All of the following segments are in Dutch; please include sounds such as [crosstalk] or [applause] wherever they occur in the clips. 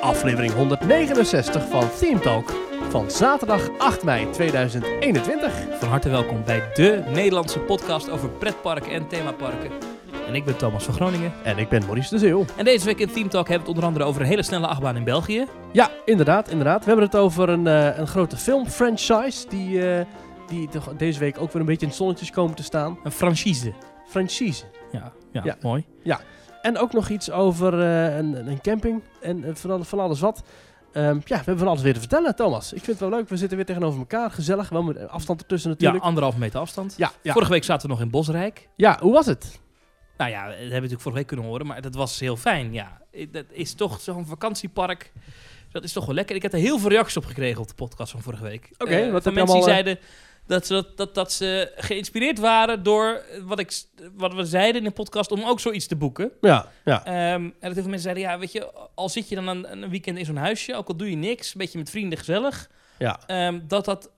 aflevering 169 van Theme Talk van zaterdag 8 mei 2021. Van harte welkom bij de Nederlandse podcast over pretparken en themaparken. En ik ben Thomas van Groningen. En ik ben Maurice de Zeeuw. En deze week in Team Talk hebben we het onder andere over een hele snelle achtbaan in België. Ja, inderdaad, inderdaad. We hebben het over een, eh, een grote filmfranchise die, eh, die toch deze week ook weer een beetje in het zonnetjes komen te staan. Een franchise. Franchise. Ja, ja, Ja. mooi. En ook nog iets over eh, een, een camping en eh, van, al- van alles wat. Ehm, ja, we hebben van alles weer te vertellen, Thomas. Ik vind het wel leuk. We zitten weer tegenover elkaar. Gezellig. Wel met afstand ertussen natuurlijk. Ja, anderhalve meter afstand. ja, ja. Vorige week zaten we nog in Bosrijk. ja hoe was het? Nou ja, dat hebben we natuurlijk vorige week kunnen horen, maar dat was heel fijn. Ja, I- dat is toch zo'n vakantiepark. Dat is toch wel lekker. Ik heb er heel veel reacties op gekregen op de podcast van vorige week. Oké, wat heb je Eh, van mensen die allemaal, zeiden dat ze, dat, dat, dat ze geïnspireerd waren door eh, wat, ik, s- wat we zeiden in de podcast om ook zoiets te boeken. Ja, ja. Ehm, en dat heel veel mensen zeiden, ja, weet je, al zit je dan een, een weekend in zo'n huisje, ook al doe je niks, een beetje met vrienden gezellig, ja. ehm, dat dat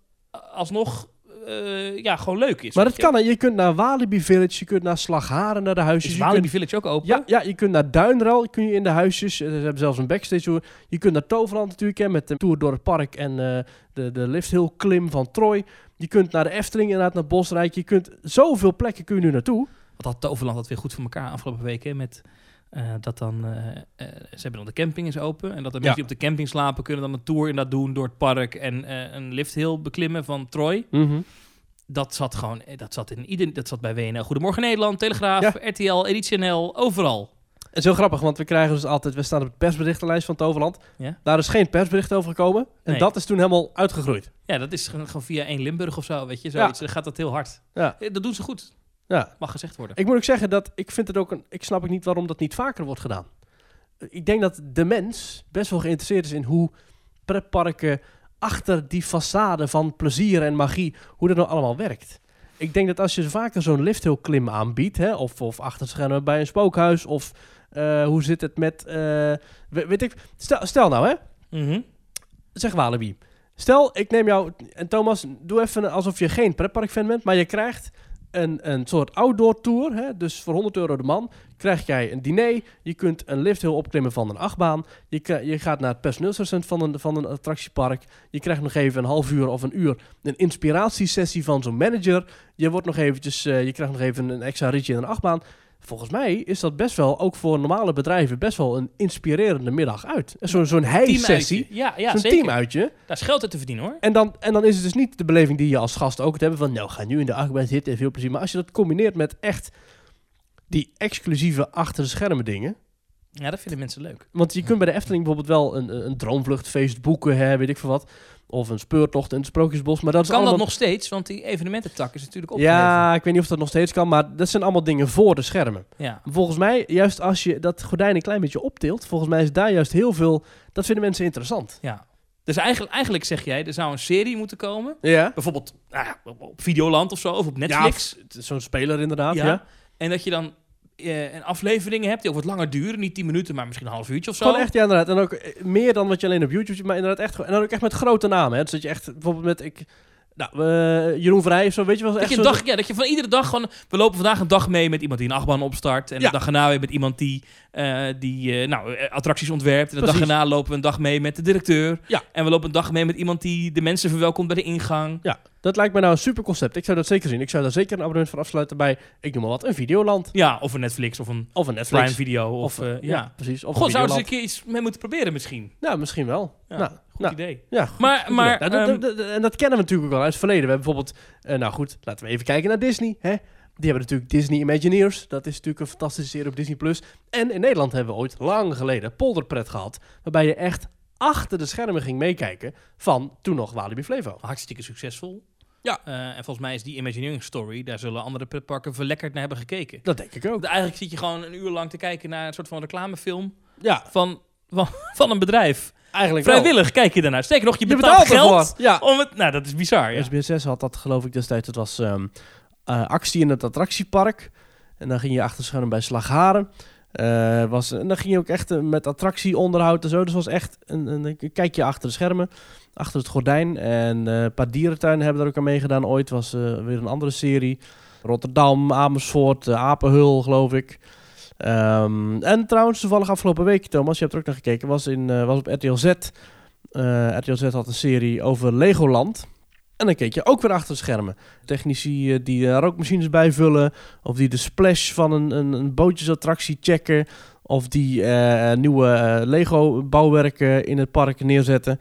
alsnog eh, ja, gewoon leuk is. Maar weet dat kan. hè. Je kunt naar Walibi Village, je kunt naar Slagharen, naar de je. huisjes. Is je Walibi kunt- Village ook open? ja, ja, je kunt naar Duinral, kun je in de huisjes. Eh, Ze hebben zelfs een backstage tour. Je kunt naar Toverland natuurlijk, hè, met de tour door het park en eh, de, de lifthill klim van Troy. Je kunt naar de Efteling, inderdaad, naar Bosrijk. Je kunt zoveel plekken kun je nu naartoe. Want dat Toverland had weer goed voor elkaar afgelopen weken met... eh, dat dan, eh, eh, ze hebben dan de camping is open. En dat de Ja. mensen die op de camping slapen... kunnen dan een tour inderdaad doen door het park... en eh, een lifthill beklimmen van Troy. Dat zat gewoon... eh, Dat zat, in ieder, dat zat bij WNL Goedemorgen Nederland, Telegraaf, RTL, Editie NL, overal. Het is heel grappig, want we krijgen dus altijd... We staan op de persberichtenlijst van Toverland. Ja. Daar is geen persbericht over gekomen. En Nee. dat is toen helemaal uitgegroeid. Ja, dat is gewoon gewoon via 1 Limburg of zo, weet je. Zoiets. Dan gaat dat heel hard. Ja. Eh, Dat doen ze goed, Ja, mag gezegd worden. Ik moet ook zeggen dat ik vind het ook een. Ik snap ik niet waarom dat niet vaker wordt gedaan. Ik denk dat de mens best wel geïnteresseerd is in hoe pretparken achter die façade van plezier en magie, hoe dat nou allemaal werkt. Ik denk dat als je vaker zo'n lifthill klim aanbiedt, hè, of, of achter schermen bij een spookhuis, of eh, hoe zit het met, eh, we- weet ik, stel, stel nou hè, Mhm. zeg Walibi. Stel, ik neem jou... En Thomas, doe even alsof je geen pretparkfan bent... maar je krijgt een, een soort outdoor tour. Hè? Dus voor 100 euro de man krijg jij een diner. Je kunt een lifthill opklimmen van een achtbaan. Je, kri- je gaat naar het personeelscentrum van een, van een attractiepark. Je krijgt nog even een half uur of een uur... een inspiratiesessie van zo'n manager. Je, wordt nog eventjes, eh, je krijgt nog even een extra ritje in een achtbaan. Volgens mij is dat best wel, ook voor normale bedrijven... best wel een inspirerende middag uit. Zo- Zo'n hei-sessie. Teamuitje. Ja, ja Zo'n zeker. teamuitje. Daar is geld uit te verdienen, hoor. En dan, en dan is het dus niet de beleving die je als gast ook het hebben van... nou, ga nu in de achtbaan zitten en veel plezier. Maar als je dat combineert met echt die exclusieve achter de schermen dingen... Ja, dat vinden mensen leuk. Want je kunt bij de Efteling bijvoorbeeld wel een, een droomvluchtfeest boeken, hè, weet ik veel wat. Of een speurtocht in het Sprookjesbos. Maar dat is kan allemaal... dat nog steeds? Want die evenemententak is natuurlijk opgeheven. Ja, ik weet niet of dat nog steeds kan, maar dat zijn allemaal dingen voor de schermen. ja. Volgens mij, juist als je dat gordijn een klein beetje optilt, volgens mij is daar juist heel veel... Dat vinden mensen interessant. ja. Dus eigenlijk, eigenlijk zeg jij, er zou een serie moeten komen. Ja. Bijvoorbeeld nou ja, op, op Videoland of zo, of op Netflix. Netflix. Zo'n speler inderdaad, Ja. ja. En dat je dan eh, een aflevering hebt die ook wat langer duren. Niet 10 minuten, maar misschien een half uurtje of zo. Gewoon echt, ja, inderdaad. En ook eh, meer dan wat je alleen op YouTube ziet, maar inderdaad echt. gewoon- En dan ook echt met grote namen. Hè. Dus dat je echt bijvoorbeeld met ik, nou, eh, Jeroen Vrij of zo, weet je wel. Dat echt je, een zo- dag, ja, dat je van iedere dag gewoon... We lopen vandaag een dag mee met iemand die een achtbaan opstart. En Ja. de dag erna weer met iemand die, eh, die eh, nou, eh, attracties ontwerpt. En de dag Precies. erna lopen we een dag mee met de directeur. Ja. En we lopen een dag mee met iemand die de mensen verwelkomt bij de ingang. Dat lijkt mij nou een super concept. Ik zou dat zeker zien. Ik zou daar zeker een abonnement voor afsluiten bij, ik noem maar wat, een Videoland. Ja, of een Netflix of een Of een Netflix. Prime Video. Of, eh, ja. precies. Of God, een zouden Videoland. ze een keer iets mee moeten proberen misschien? Nou, misschien wel. Ja, nou, Goed nou, idee. ja, goed Maar- idee. maar, Nou, dat- ehm, dat- dat- en dat kennen we natuurlijk ook wel uit het verleden. We hebben bijvoorbeeld... eh, nou goed, laten we even kijken naar Disney. Hè? Die hebben natuurlijk Disney Imagineers. Dat is natuurlijk een fantastische serie op Disney+. Plus. En in Nederland hebben we ooit, lang geleden, Polderpret gehad. Waarbij je echt achter de schermen ging meekijken van toen nog Walibi Flevo. Hartstikke succesvol. Ja. Eh, en volgens mij is die Imagineering Story... daar zullen andere pretparken verlekkerd naar hebben gekeken. Dat denk ik ook. Want eigenlijk zit je gewoon een uur lang te kijken naar een soort van reclamefilm... Ja, van, van, [laughs] van een bedrijf. eigenlijk wel. Vrijwillig kijk je daarnaar. Steek nog, je Je betaalt, betaalt ervoor. geld Ja. om het... Nou, dat is bizar, ja. SBS6 had dat geloof ik destijds. Het was ehm, eh, actie in het attractiepark. En dan ging je achter scherm bij Slagharen. Eh, was, en dan ging je ook echt eh, met attractieonderhoud en zo. Dus was echt een, een, een kijkje achter de schermen. Achter het gordijn. En eh, een paar dierentuinen hebben daar ook aan meegedaan ooit. was eh, weer een andere serie. Rotterdam, Amersfoort, eh, Apenhul geloof ik. Ehm, en trouwens, toevallig afgelopen week, Thomas, je hebt er ook naar gekeken, was, in, eh, was op RTL Z. Eh, RTL Z had een serie over Legoland. En dan keek je ook weer achter de schermen. Technici eh, die daar rookmachines bij vullen. Of die de splash van een, een, een bootjesattractie checken. Of die eh, nieuwe eh, Lego-bouwwerken in het park neerzetten.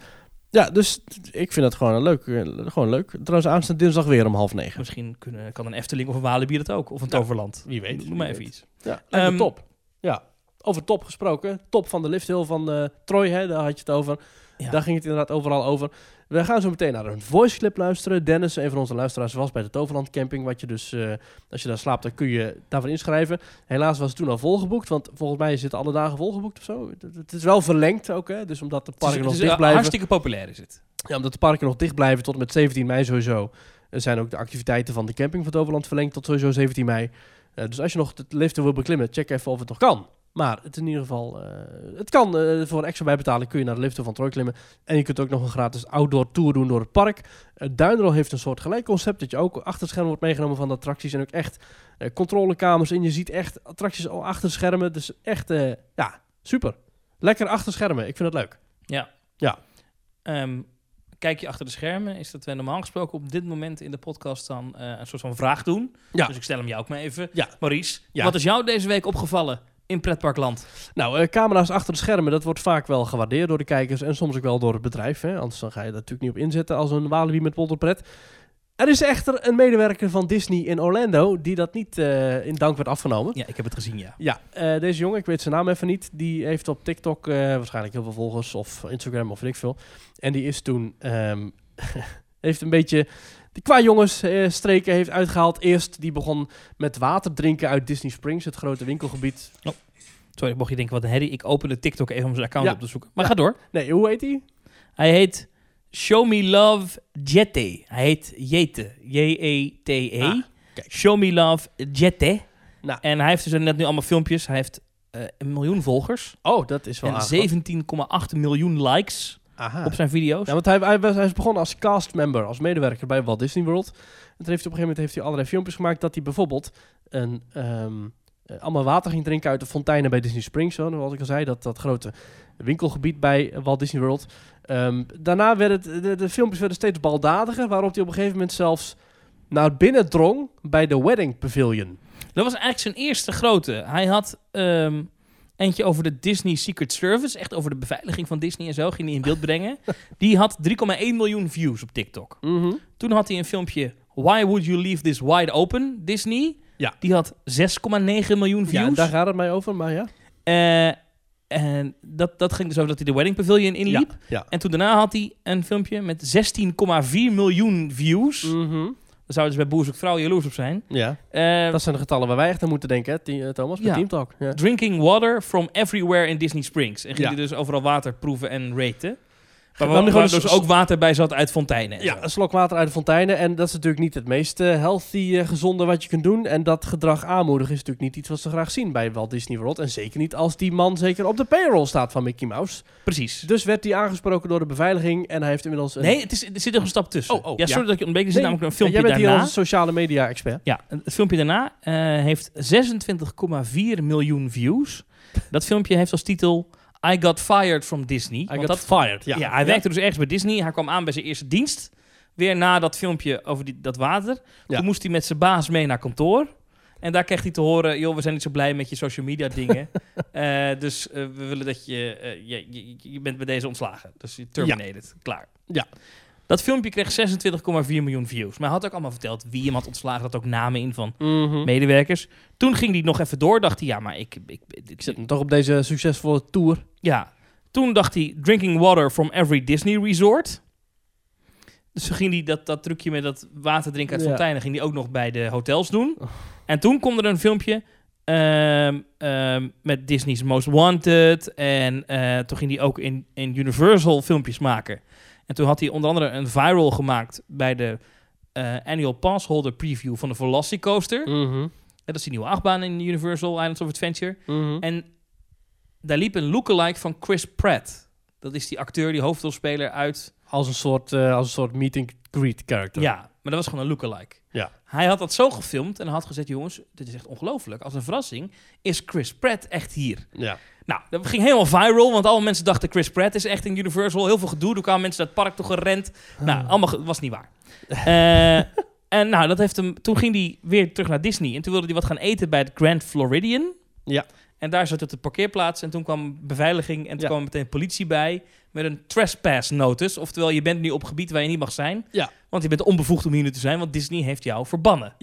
Ja, dus t- ik vind dat gewoon een leuk. eh, Gewoon leuk. Trouwens, aanstaande dinsdag weer om half negen. Misschien kunnen, kan een Efteling of een Walibi dat ook. Of een Toverland. wie weet, Noem wie maar weet. even iets. Ja, lijkt me top. Ja, over top gesproken. Top van de lifthill van eh, Troy, hè, daar had je het over. Ja. Daar ging het inderdaad overal over. We gaan zo meteen naar een voice clip luisteren. Dennis, een van onze luisteraars, was bij de Toverland Camping. Wat je dus, eh, als je daar slaapt, dan kun je daarvoor inschrijven. Helaas was het toen al volgeboekt, want volgens mij zitten alle dagen volgeboekt of zo. Het- Het is wel verlengd ook, hè? Dus omdat de Het is- parken het nog is, dicht eh, blijven. Hartstikke populair is het. Ja, omdat de parken nog dicht blijven tot en met 17 mei sowieso. Er zijn ook de activiteiten van de camping van Toverland verlengd tot sowieso 17 mei. Eh, dus als je nog het liften wil beklimmen, check even of het nog kan. Maar het is in ieder geval, eh, het kan. eh, voor een extra bijbetaling kun je naar de liften van Troy klimmen. En je kunt ook nog een gratis outdoor tour doen door het park. Eh, Duinrol heeft een soort gelijk concept. Dat je ook achter het scherm wordt meegenomen van de attracties. En ook echt eh, controlekamers. En je ziet echt attracties al achter schermen. Dus echt, eh, ja, super. Lekker achter schermen. Ik vind het leuk. Ja. Ja. Ehm, kijk je achter de schermen, is dat we normaal gesproken op dit moment in de podcast dan eh, een soort van vraag doen. Ja. Dus ik stel hem jou ook maar even. Ja. Maurice, Ja. wat is jou deze week opgevallen in pretparkland? Nou, eh, camera's achter de schermen, dat wordt vaak wel gewaardeerd door de kijkers en soms ook wel door het bedrijf. Hè? Anders dan ga je daar natuurlijk niet op inzetten als een Walibi met polderpret. Er is echter een medewerker van Disney in Orlando die dat niet eh, in dank werd afgenomen. Ja, ik heb het gezien, ja. Ja, eh, deze jongen, ik weet zijn naam even niet, die heeft op TikTok eh, waarschijnlijk heel veel volgers of Instagram of weet ik veel. En die is toen, ehm, [laughs] heeft een beetje die qua jongens eh, streken heeft uitgehaald. Eerst, die begon met water drinken uit Disney Springs, het grote winkelgebied. Sorry, mocht je denken, wat een herrie. Ik opende TikTok even om zijn account Ja. op te zoeken. Maar Ja. ga door. Nee, hoe heet die? Hij heet Show Me Love Jette. Hij heet Jete. J-E-T-E. Ah, kijk. E. Show Me Love Jette. Nou. En hij heeft dus net nu allemaal filmpjes. Hij heeft eh, een miljoen volgers. Oh, dat is wel En aardig. 17,8 miljoen likes Aha. op zijn video's. Ja, want hij, hij, was- hij is begonnen als castmember, als medewerker bij Walt Disney World. En toen heeft hij op een gegeven moment heeft hij allerlei filmpjes gemaakt dat hij bijvoorbeeld een, ehm, eh, allemaal water ging drinken uit de fonteinen bij Disney Springs. Zo, zoals ik al zei, dat, dat grote winkelgebied bij Walt Disney World. Ehm, daarna werden het- de, de filmpjes werden steeds baldadiger, waarop hij op een gegeven moment zelfs naar binnen drong bij de Wedding Pavilion. Dat was eigenlijk zijn eerste grote. Hij had ehm, eentje over de Disney Secret Service. Echt over de beveiliging van Disney en zo. Ging hij in beeld [laughs] brengen. Die had 3,1 miljoen views op TikTok. Toen had hij een filmpje... Why would you leave this wide open, Disney? Ja. Die had 6,9 miljoen Ja, en views. daar gaat het mij over, maar ja. Eh, en dat, dat ging dus over dat hij de Wedding Pavilion inliep. Ja. En toen daarna had hij een filmpje met 16,4 miljoen views. ja. Mhm. Daar zouden ze bij Boer Zoekt Vrouw jaloers op zijn. ja. Eh, Dat zijn de getallen waar wij echt aan moeten denken, hè, Ti- eh, Thomas, met Ja. Team Talk. Ja. Drinking water from everywhere in Disney Springs. En ging Ja. hij dus overal water proeven en raten. Waar, Nam waar, hij gewoon een dus s- ook water bij zat uit fonteinen. en Ja, zo. een slok water uit de fonteinen. En dat is natuurlijk niet het meest eh, healthy, eh, gezonde wat je kunt doen. En dat gedrag aanmoedigen is natuurlijk niet iets wat ze graag zien bij Walt Disney World. En zeker niet als die man zeker op de payroll staat van Mickey Mouse. Precies. Dus werd hij aangesproken door de beveiliging en hij heeft inmiddels... Een... Nee, het is, er zit nog een stap tussen. Oh, oh, ja, ja. sorry dat ik je ontbreek. Er zit Nee, namelijk een Ja, filmpje jij bent hier daarna. onze sociale media expert. Ja, het filmpje daarna eh, heeft 26,4 miljoen views. Dat filmpje heeft als titel I Got Fired from Disney. I Want got dat, fired. ja. Ja, hij werkte dus ergens bij Disney. Hij kwam aan bij zijn eerste dienst. Weer na dat filmpje over die, dat water. Ja. Toen moest hij met zijn baas mee naar kantoor. En daar kreeg hij te horen, joh, we zijn niet zo blij met je social media [laughs] dingen. Eh, dus eh, we willen dat je, eh, je, je, je bent bij deze ontslagen. Dus je terminated, klaar. Ja. Dat filmpje kreeg 26,4 miljoen views. Maar hij had ook allemaal verteld wie hem had ontslagen. Dat ook namen in van Mhm. medewerkers. Toen ging hij nog even door. Dacht hij, ja, maar ik... ik, ik- Ik zit nu toch op deze succesvolle tour. ja. Toen dacht hij, drinking water from every Disney resort. Dus toen ging hij dat, dat trucje met dat water drinken uit Ja. fonteinen... ging hij ook nog bij de hotels doen. En toen kwam er een filmpje ehm, ehm, met Disney's Most Wanted. En eh, toen ging hij ook in, in Universal filmpjes maken. En toen had hij onder andere een viral gemaakt... bij de eh, annual passholder preview van de Velocicoaster. Mhm. Dat is die nieuwe achtbaan in Universal Islands of Adventure. Mhm. Hm. En daar liep een lookalike van Chris Pratt. Dat is die acteur, die hoofdrolspeler uit... Als, een soort, eh, als een soort meet and greet character. Ja, maar dat was gewoon een lookalike. Ja. Hij had dat zo gefilmd en had gezegd, jongens, dit is echt ongelooflijk. Als een verrassing is Chris Pratt echt hier. Ja. Nou, dat ging helemaal viral, want alle mensen dachten Chris Pratt is echt in Universal. Heel veel gedoe, toen kwamen mensen dat park toe gerend. Ah. Nou, allemaal ge- was niet waar. [laughs] Eh, en nou, dat heeft hem, toen ging hij weer terug naar Disney. En toen wilde hij wat gaan eten bij het Grand Floridian. Ja. En daar zat hij op de parkeerplaats. En toen kwam beveiliging en toen Ja. kwam meteen politie bij. Met een trespass notice. Oftewel, je bent nu op gebied waar je niet mag zijn. Ja. Want je bent onbevoegd om hier nu te zijn, want Disney heeft jou verbannen.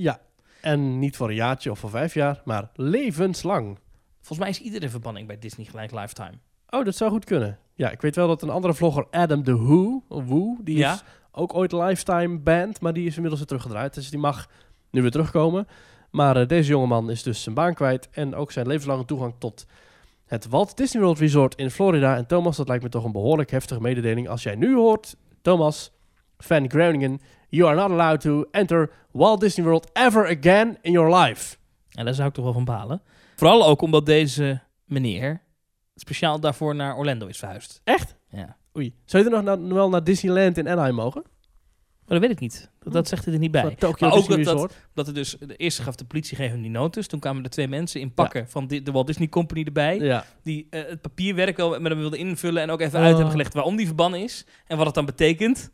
En niet voor een jaartje of voor vijf jaar, maar levenslang. Volgens mij is iedere verbanning bij Disney gelijk lifetime. Oh, dat zou goed kunnen. Ja, ik weet wel dat een andere vlogger, Adam de Who, of Who die Ja. is ook ooit lifetime band, maar die is inmiddels weer teruggedraaid. Dus die mag nu weer terugkomen. Maar eh, deze jongeman is dus zijn baan kwijt en ook zijn levenslange toegang tot het Walt Disney World Resort in Florida. En Thomas, dat lijkt me toch een behoorlijk heftige mededeling. Als jij nu hoort, Thomas, Van Groningen, you are not allowed to enter Walt Disney World ever again in your life. En daar zou ik toch wel van balen. Vooral ook omdat deze meneer speciaal daarvoor naar Orlando is verhuisd. Echt? Ja. Oei. Zou je er nog na- nog wel naar Disneyland in Anaheim mogen? Maar dat weet ik niet. Dat, dat zegt hij er niet bij. Of naar Tokyo Maar ook Disney dat dat- Resort. Oh. Dat er dus, de eerste gaf de politie geven die notus. Toen kwamen er twee mensen in pakken van di- de Walt Disney Company erbij. Ja. Die eh, het papierwerk wel met hem wilden invullen. En ook even Oh. uit hebben gelegd waarom die verbannen is. En wat het dan betekent.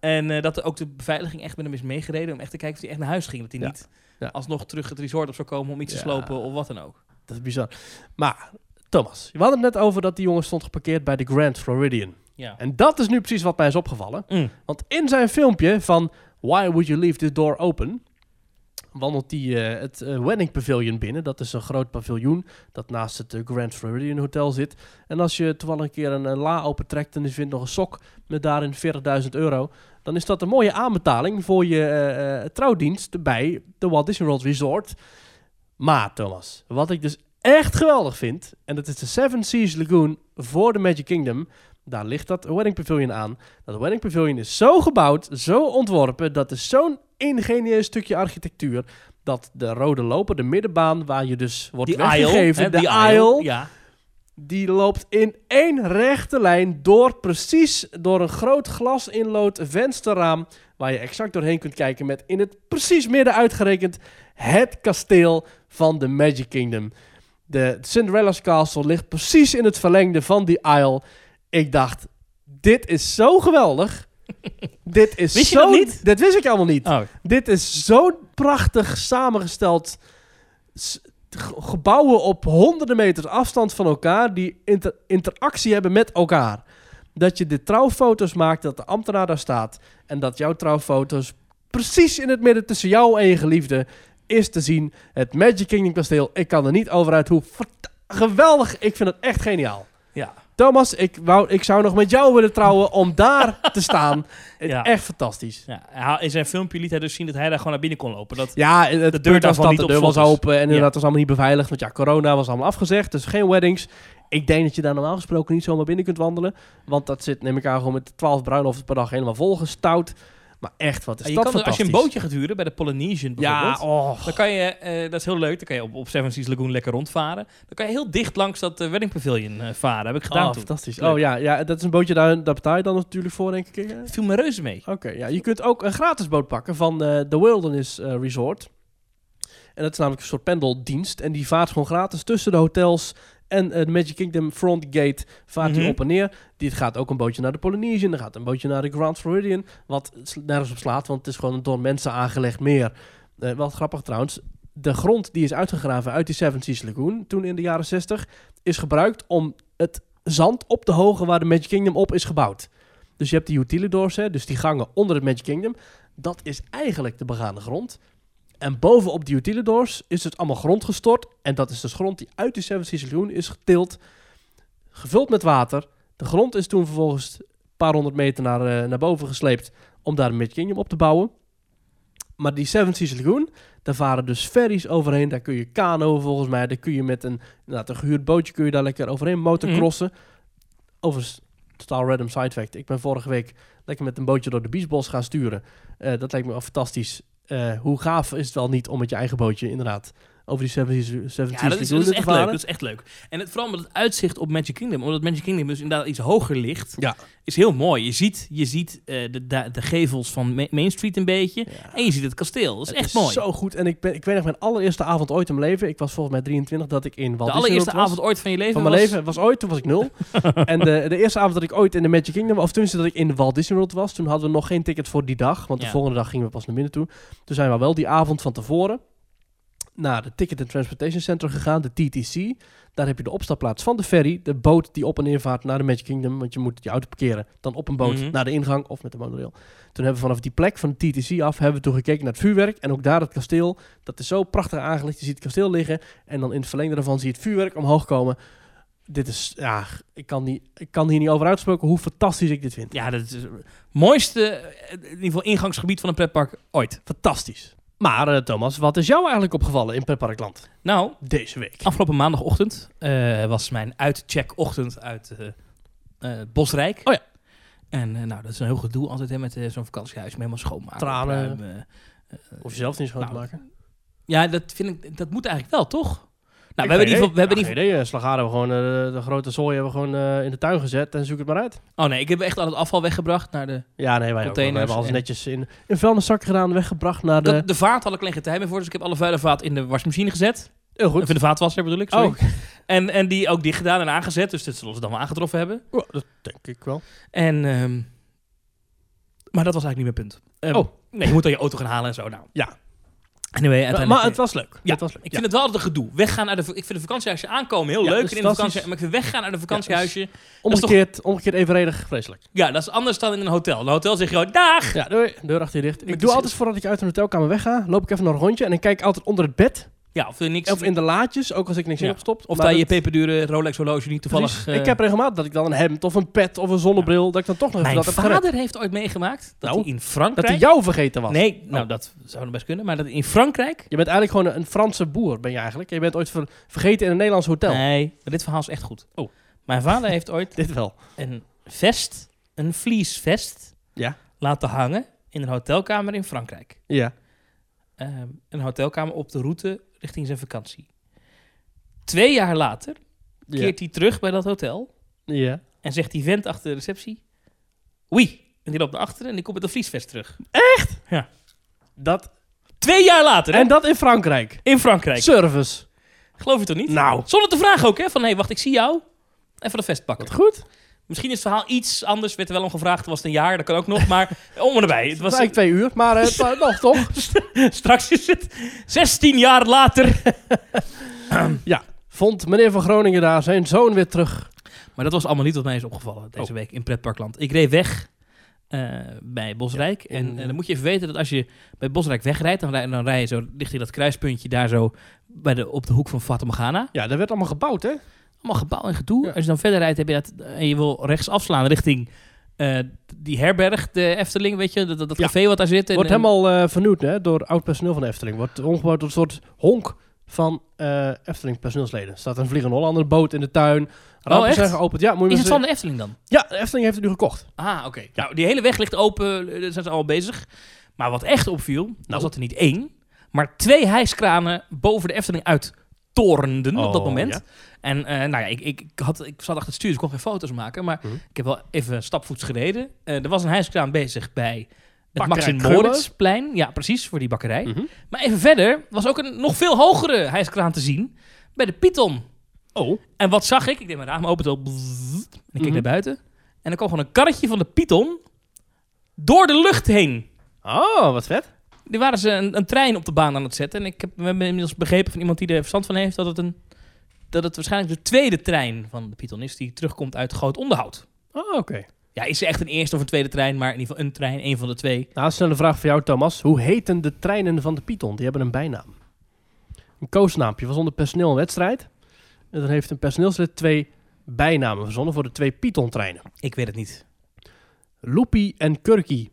En eh, dat er ook de beveiliging echt met hem is meegereden. Om echt te kijken of hij echt naar huis ging. Dat hij Ja. niet Ja. alsnog terug het resort op zou komen om iets Ja. te slopen of wat dan ook. Dat is bizar. Maar, Thomas, we hadden het net over dat die jongen stond geparkeerd bij de Grand Floridian. Ja. En dat is nu precies wat mij is opgevallen. Mm. Want in zijn filmpje van Why Would You Leave This Door Open... wandelt hij eh, het eh, Wedding Pavilion binnen. Dat is een groot paviljoen dat naast het eh, Grand Floridian Hotel zit. En als je toevallig een keer een eh, la opentrekt en je vindt nog een sok met daarin 40.000 euro... dan is dat een mooie aanbetaling voor je eh, eh, trouwdienst bij de Walt Disney World Resort. Maar Thomas, wat ik dus echt geweldig vind... en dat is de Seven Seas Lagoon voor de Magic Kingdom... daar ligt dat Wedding Pavilion aan... Dat Wedding Pavilion is zo gebouwd, zo ontworpen, dat is zo'n ingenieus stukje architectuur dat de rode loper, de middenbaan waar je dus wordt Die weggegeven, aisle, hè, de die aisle, aisle. Ja. die loopt in één rechte lijn door precies door een groot glas inlood vensterraam waar je exact doorheen kunt kijken met in het precies midden uitgerekend het kasteel van de Magic Kingdom. De Cinderella's Castle ligt precies in het verlengde van die aisle. Ik dacht, dit is zo [laughs] geweldig. dit is Wist je zo... dat niet? Dit wist ik allemaal niet. Oh, Dit is zo'n prachtig samengesteld s- ge- gebouwen op honderden meters afstand van elkaar die inter- interactie hebben met elkaar. Dat je de trouwfoto's maakt, dat de ambtenaar daar staat en dat jouw trouwfoto's precies in het midden tussen jou en je geliefde is te zien. Het Magic Kingdom kasteel. Ik kan er niet over uit hoe vert- geweldig. Ik vind het echt geniaal. ja. Thomas, ik, wou, ik zou nog met jou willen trouwen om daar te staan. Ja. Echt fantastisch. Ja, hij- in zijn filmpje liet hij dus zien dat hij daar gewoon naar binnen kon lopen. Dat, Ja, het de deur deur, was daarvan dat, niet de op deur was slot is. open en inderdaad was allemaal niet beveiligd. Want ja, corona was allemaal afgezegd, dus geen weddings. Ik denk dat je daar normaal gesproken niet zomaar binnen kunt wandelen. Want dat zit, neem ik aan, gewoon met 12 bruiloften per dag helemaal volgestouwd. Maar echt, wat is je dat kan, er- als je een fantastisch. bootje gaat huren bij de Polynesian Ja, bijvoorbeeld... oh. Dan kan je, eh, dat is heel leuk, dan kan je op, op Seven Seas Lagoon lekker rondvaren. Dan kan je heel dicht langs dat eh, wedding pavilion eh, varen, heb ik gedaan Oh, toen. fantastisch. Leuk. Oh ja, ja, dat is een bootje, daar, daar betaal je dan natuurlijk voor, denk ik. hè? Het viel me reuze mee. Oké, ja. Je kunt ook een gratis boot pakken van eh The Wilderness eh, Resort. En dat is namelijk een soort pendeldienst. En die vaart gewoon gratis tussen de hotels en het Magic Kingdom Front Gate. Vaart die Mhm. op en neer. Dit gaat ook een bootje naar de Polynesian. Dan gaat een bootje naar de Grand Floridian. Wat sl- nergens op slaat, want het is gewoon een door mensen aangelegd meer. Eh wel grappig trouwens. De grond die is uitgegraven uit die Seven Seas Lagoon toen in de jaren 60... is gebruikt om het zand op te hogen waar de Magic Kingdom op is gebouwd. Dus je hebt die utilidors, hè, dus die gangen onder het Magic Kingdom. Dat is eigenlijk de begane grond. En bovenop die utilidors is het allemaal grond gestort. En dat is dus grond die uit de Seven Seas Lagoon is getild, gevuld met water. De grond is toen vervolgens een paar honderd meter naar, eh, naar boven gesleept om daar een Magic Kingdom op te bouwen. Maar die Seven Seas Lagoon, daar varen dus ferries overheen. Daar kun je kano volgens mij, daar kun je met een, inderdaad, een gehuurd bootje kun je daar lekker overheen motocrossen. Overigens, totaal random side fact. Ik ben vorige week lekker met een bootje door de biesbos gaan sturen. Eh, dat lijkt me wel fantastisch. Eh, hoe gaaf is het wel niet om met je eigen bootje inderdaad over die Seven Seas, Seven Ja, Seas dat is, dat Lagoon is echt leuk. ervaren. Dat is echt leuk. En het, vooral met het uitzicht op Magic Kingdom, omdat Magic Kingdom dus inderdaad iets hoger ligt, Ja. is heel mooi. Je ziet, je ziet eh, de, da- de gevels van Ma- Main Street een beetje Ja. en je ziet het kasteel. Dat is Het echt mooi. Zo goed. En ik, ben, ik weet nog mijn allereerste avond ooit in mijn leven. Ik was volgens mij 23 dat ik in Walt de Disney allereerste World was. avond ooit van je leven van mijn was... leven was ooit, toen was ik [laughs] nul. en de, de eerste avond dat ik ooit in de Magic Kingdom, of tenminste dat ik in de Walt Disney World was, toen hadden we nog geen ticket voor die dag, want Ja. de volgende dag gingen we pas naar binnen toe. Toen zijn we wel die avond van tevoren naar de Ticket and Transportation Center gegaan, de TTC. Daar heb je de opstapplaats van de ferry, de boot die op en neer vaart naar de Magic Kingdom, want je moet je auto parkeren, dan op een boot Mhm. naar de ingang of met de monorail. Toen hebben we vanaf die plek van de TTC af hebben we toen gekeken naar het vuurwerk en ook daar het kasteel. Dat is zo prachtig aangelegd. Je ziet het kasteel liggen en dan in het verlengde daarvan zie je het vuurwerk omhoog komen. Dit is, ja, ik kan, niet, ik kan hier niet over uitspreken hoe fantastisch ik dit vind. Ja, dat is het mooiste eh, in ieder geval ingangsgebied van een pretpark ooit. Fantastisch. Maar eh, Thomas, wat is jou eigenlijk opgevallen in Pretparkland Nou, deze week? afgelopen maandagochtend eh, was mijn uitcheckochtend uit eh, eh, Bosrijk. Oh ja. En eh, nou, dat is een heel gedoe altijd hè, met eh, zo'n vakantiehuis. Maar helemaal schoonmaken. Tranen. opruimen. Of jezelf niet schoon te Nou, maken? Ja, dat, vind ik, dat moet eigenlijk wel, toch? Nou, Ik we hebben in ieder geen geval... We hebben in idee. ieder Ja, geen idee. Eh, Slagharen hebben we gewoon eh, de grote zooi hebben we gewoon eh, in de tuin gezet en zoek het maar uit. geval- oh nee, ik heb echt al het afval weggebracht naar de... Ja, nee, wij ook. We Containers hebben alles en- netjes in, in vuilniszakken gedaan, weggebracht naar de... De, de vaat had ik alleen geen tijd meer voor, dus ik heb alle vuile vaat in de wasmachine gezet. Heel goed. Of in de vaatwasser bedoel ik, sorry. Oh, En, en die ook dicht gedaan en aangezet, dus dat zullen ze dan wel aangetroffen hebben. ja, Oh, dat denk ik wel. En, ehm, maar dat was eigenlijk niet mijn punt. Ehm, Oh. Nee, je moet dan je auto gaan halen en zo. Nou. Ja. Anyway, uiteindelijk, eh, maar het was leuk. Ja, het was leuk. Ik vind het wel altijd een gedoe. Weggaan uit de, ik vind de vakantiehuisje aankomen heel Ja, leuk. dat is in een fantastisch. vakantiehuisje, maar ik vind weggaan uit een vakantiehuisje... Ja, is toch- Omgekeerd, omgekeerd evenredig, vreselijk. dat is anders dan in een hotel. In een hotel zeg je gewoon, dag! Ja, doei. Deur achter je dicht. Met Ik doe de- altijd voordat ik uit een hotelkamer wegga, loop ik even naar een rondje en ik kijk altijd onder het bed. Ja, of er niks... Of in de laadjes, ook als ik niks Ja. in heb gestopt. Of Maar daar je dat- peperdure Rolex horloge niet toevallig... Precies. eh, Ik heb regelmatig dat ik dan een hemd of een pet of een zonnebril, dat ik dan toch nog even Mijn dat heb gered. vader heeft ooit meegemaakt dat Nou, hij in Dat Frankrijk... hij jou vergeten was. Nee, nou Oh. dat zou nog best kunnen. Maar dat in Frankrijk... Je bent eigenlijk gewoon een, een Franse boer, ben je eigenlijk. Je bent ooit ver- vergeten in een Nederlands hotel. Nee, maar dit verhaal is echt goed. Oh. Mijn vader heeft ooit Dit wel. een vest, een vliesvest, Ja. laten hangen in een hotelkamer in Frankrijk. Ja. Ehm, een hotelkamer op de route richting zijn vakantie. Twee jaar later Ja. keert hij terug bij dat hotel ja. en zegt die vent achter de receptie, oui. En die loopt naar achteren en die komt met een vliesvest terug. Dat, Twee jaar later, hè? en dat in Frankrijk. In Frankrijk. Service. Geloof je toch niet? Nou. Zonder te vragen ook, hè? Van, hé, wacht, ik zie jou. Even dat vest pakken. Wat goed. Misschien is het verhaal iets anders. Werd er wel om gevraagd. Was het een jaar, dat kan ook nog. Maar om en erbij. Het Het was was, eigenlijk twee uur, maar [laughs] eh, maar nog toch. Straks is het 16 jaar later. Vond meneer van Groningen daar zijn zoon weer terug. Maar dat was allemaal niet wat mij is opgevallen deze Oh. week in Pretparkland. Ik reed weg eh, bij Bosrijk. Ja, en, in- eh, dan moet je even weten dat als je bij Bosrijk wegrijdt, dan rij, dan rij je zo richting dat kruispuntje daar zo bij de, op de hoek van Fata Morgana. Ja, dat werd allemaal gebouwd, hè? Allemaal gebouw en gedoe. Ja. Als je dan verder rijdt heb je dat, en je wil rechts afslaan richting eh, die herberg, de Efteling, weet je, dat, dat, dat Ja. café wat daar zit. En- Wordt en- helemaal eh, vernieuwd hè, door oud personeel van de Efteling. Wordt omgebouwd tot een soort honk van eh, Efteling personeelsleden. Er staat een Vliegende Hollander boot in de tuin. Rampen Oh, echt? zijn geopend. Ja, moet je Is het maar van eens- de Efteling dan? ja, de Efteling heeft het nu gekocht. Ah, oké. Nou, die hele weg ligt open, eh, daar zijn ze al bezig. Maar wat echt opviel, Nou. was dat er niet één, maar twee hijskranen boven de Efteling uit torenden op dat Oh, moment. ja. En eh, nou ja, ik, ik, ik had, ik zat achter het stuur, dus ik kon geen foto's maken. Maar Mhm. ik heb wel even stapvoets gereden. Eh, er was een hijskraan bezig bij Bakkerij het Max en Krullen. Moritzplein. Ja, precies, voor die bakkerij. Mhm. Maar even verder was ook een nog veel hogere hijskraan te zien bij de Python. Oh. En wat zag ik? Ik deed mijn raam open. Zo, bzzz, en ik keek Mhm. naar buiten. En er kwam gewoon een karretje van de Python door de lucht heen. Oh, wat vet. Er waren ze een, een trein op de baan aan het zetten. En ik heb we hebben inmiddels begrepen van iemand die er verstand van heeft... dat het, een, dat het waarschijnlijk de tweede trein van de Python is... die terugkomt uit Groot Onderhout. Oh, oké. Ja, is er echt een eerste of een tweede trein... maar in ieder geval een trein, een van de twee. Nou, snelle vraag voor jou, Thomas. Hoe heten de treinen van de Python? Die hebben een bijnaam. Een koosnaampje. was onder personeel een wedstrijd. En dan heeft een personeelslid twee bijnamen verzonnen voor de twee Python-treinen. Ik weet het niet. Loopy en Kurky.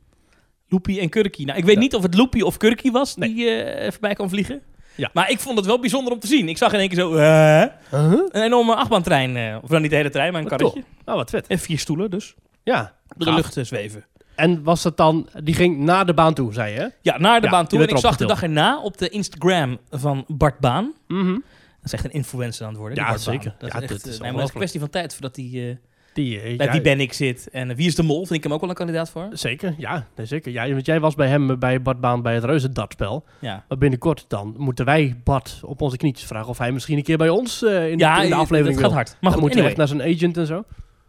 Loopy en Kurky. Nou, ik weet Ja. niet of het Loopy of Kurky was Nee. die eh, voorbij kwam vliegen. Ja. Maar ik vond het wel bijzonder om te zien. Ik zag in één keer zo... eh, Huh? Een enorme achtbaantrein. eh, of dan niet de nou hele trein, maar een Wat karretje. Oh, wat vet. En vier stoelen dus. Ja. Door de Gaaf. lucht eh, zweven. En was dat dan... Die ging naar de baan toe, zei je, hè? Ja, naar de Ja, baan die toe. En werd ik erop zag de dag erna op de Instagram van Bart Baan. Mhm. Dat is echt een influencer aan het worden. Ja, die Bart Baan. zeker. Dat Ja, dat is echt, is eh, nee, maar dat ongelooflijk. is een kwestie van tijd voordat hij eh, Die, eh, bij ja, Wie Ben ik zit. En eh, Wie is de Mol? Vind ik hem ook wel een kandidaat voor. Zeker, ja. Nee, zeker. ja. Want jij was bij hem eh, bij Bart Baan bij het reuzendartspel. Ja, Maar binnenkort dan moeten wij Bart op onze knietjes vragen... of hij misschien een keer bij ons eh, in, de, in de aflevering dat wil. gaat hard. Maar dan goed, moet hij anyway, echt naar zijn agent en zo.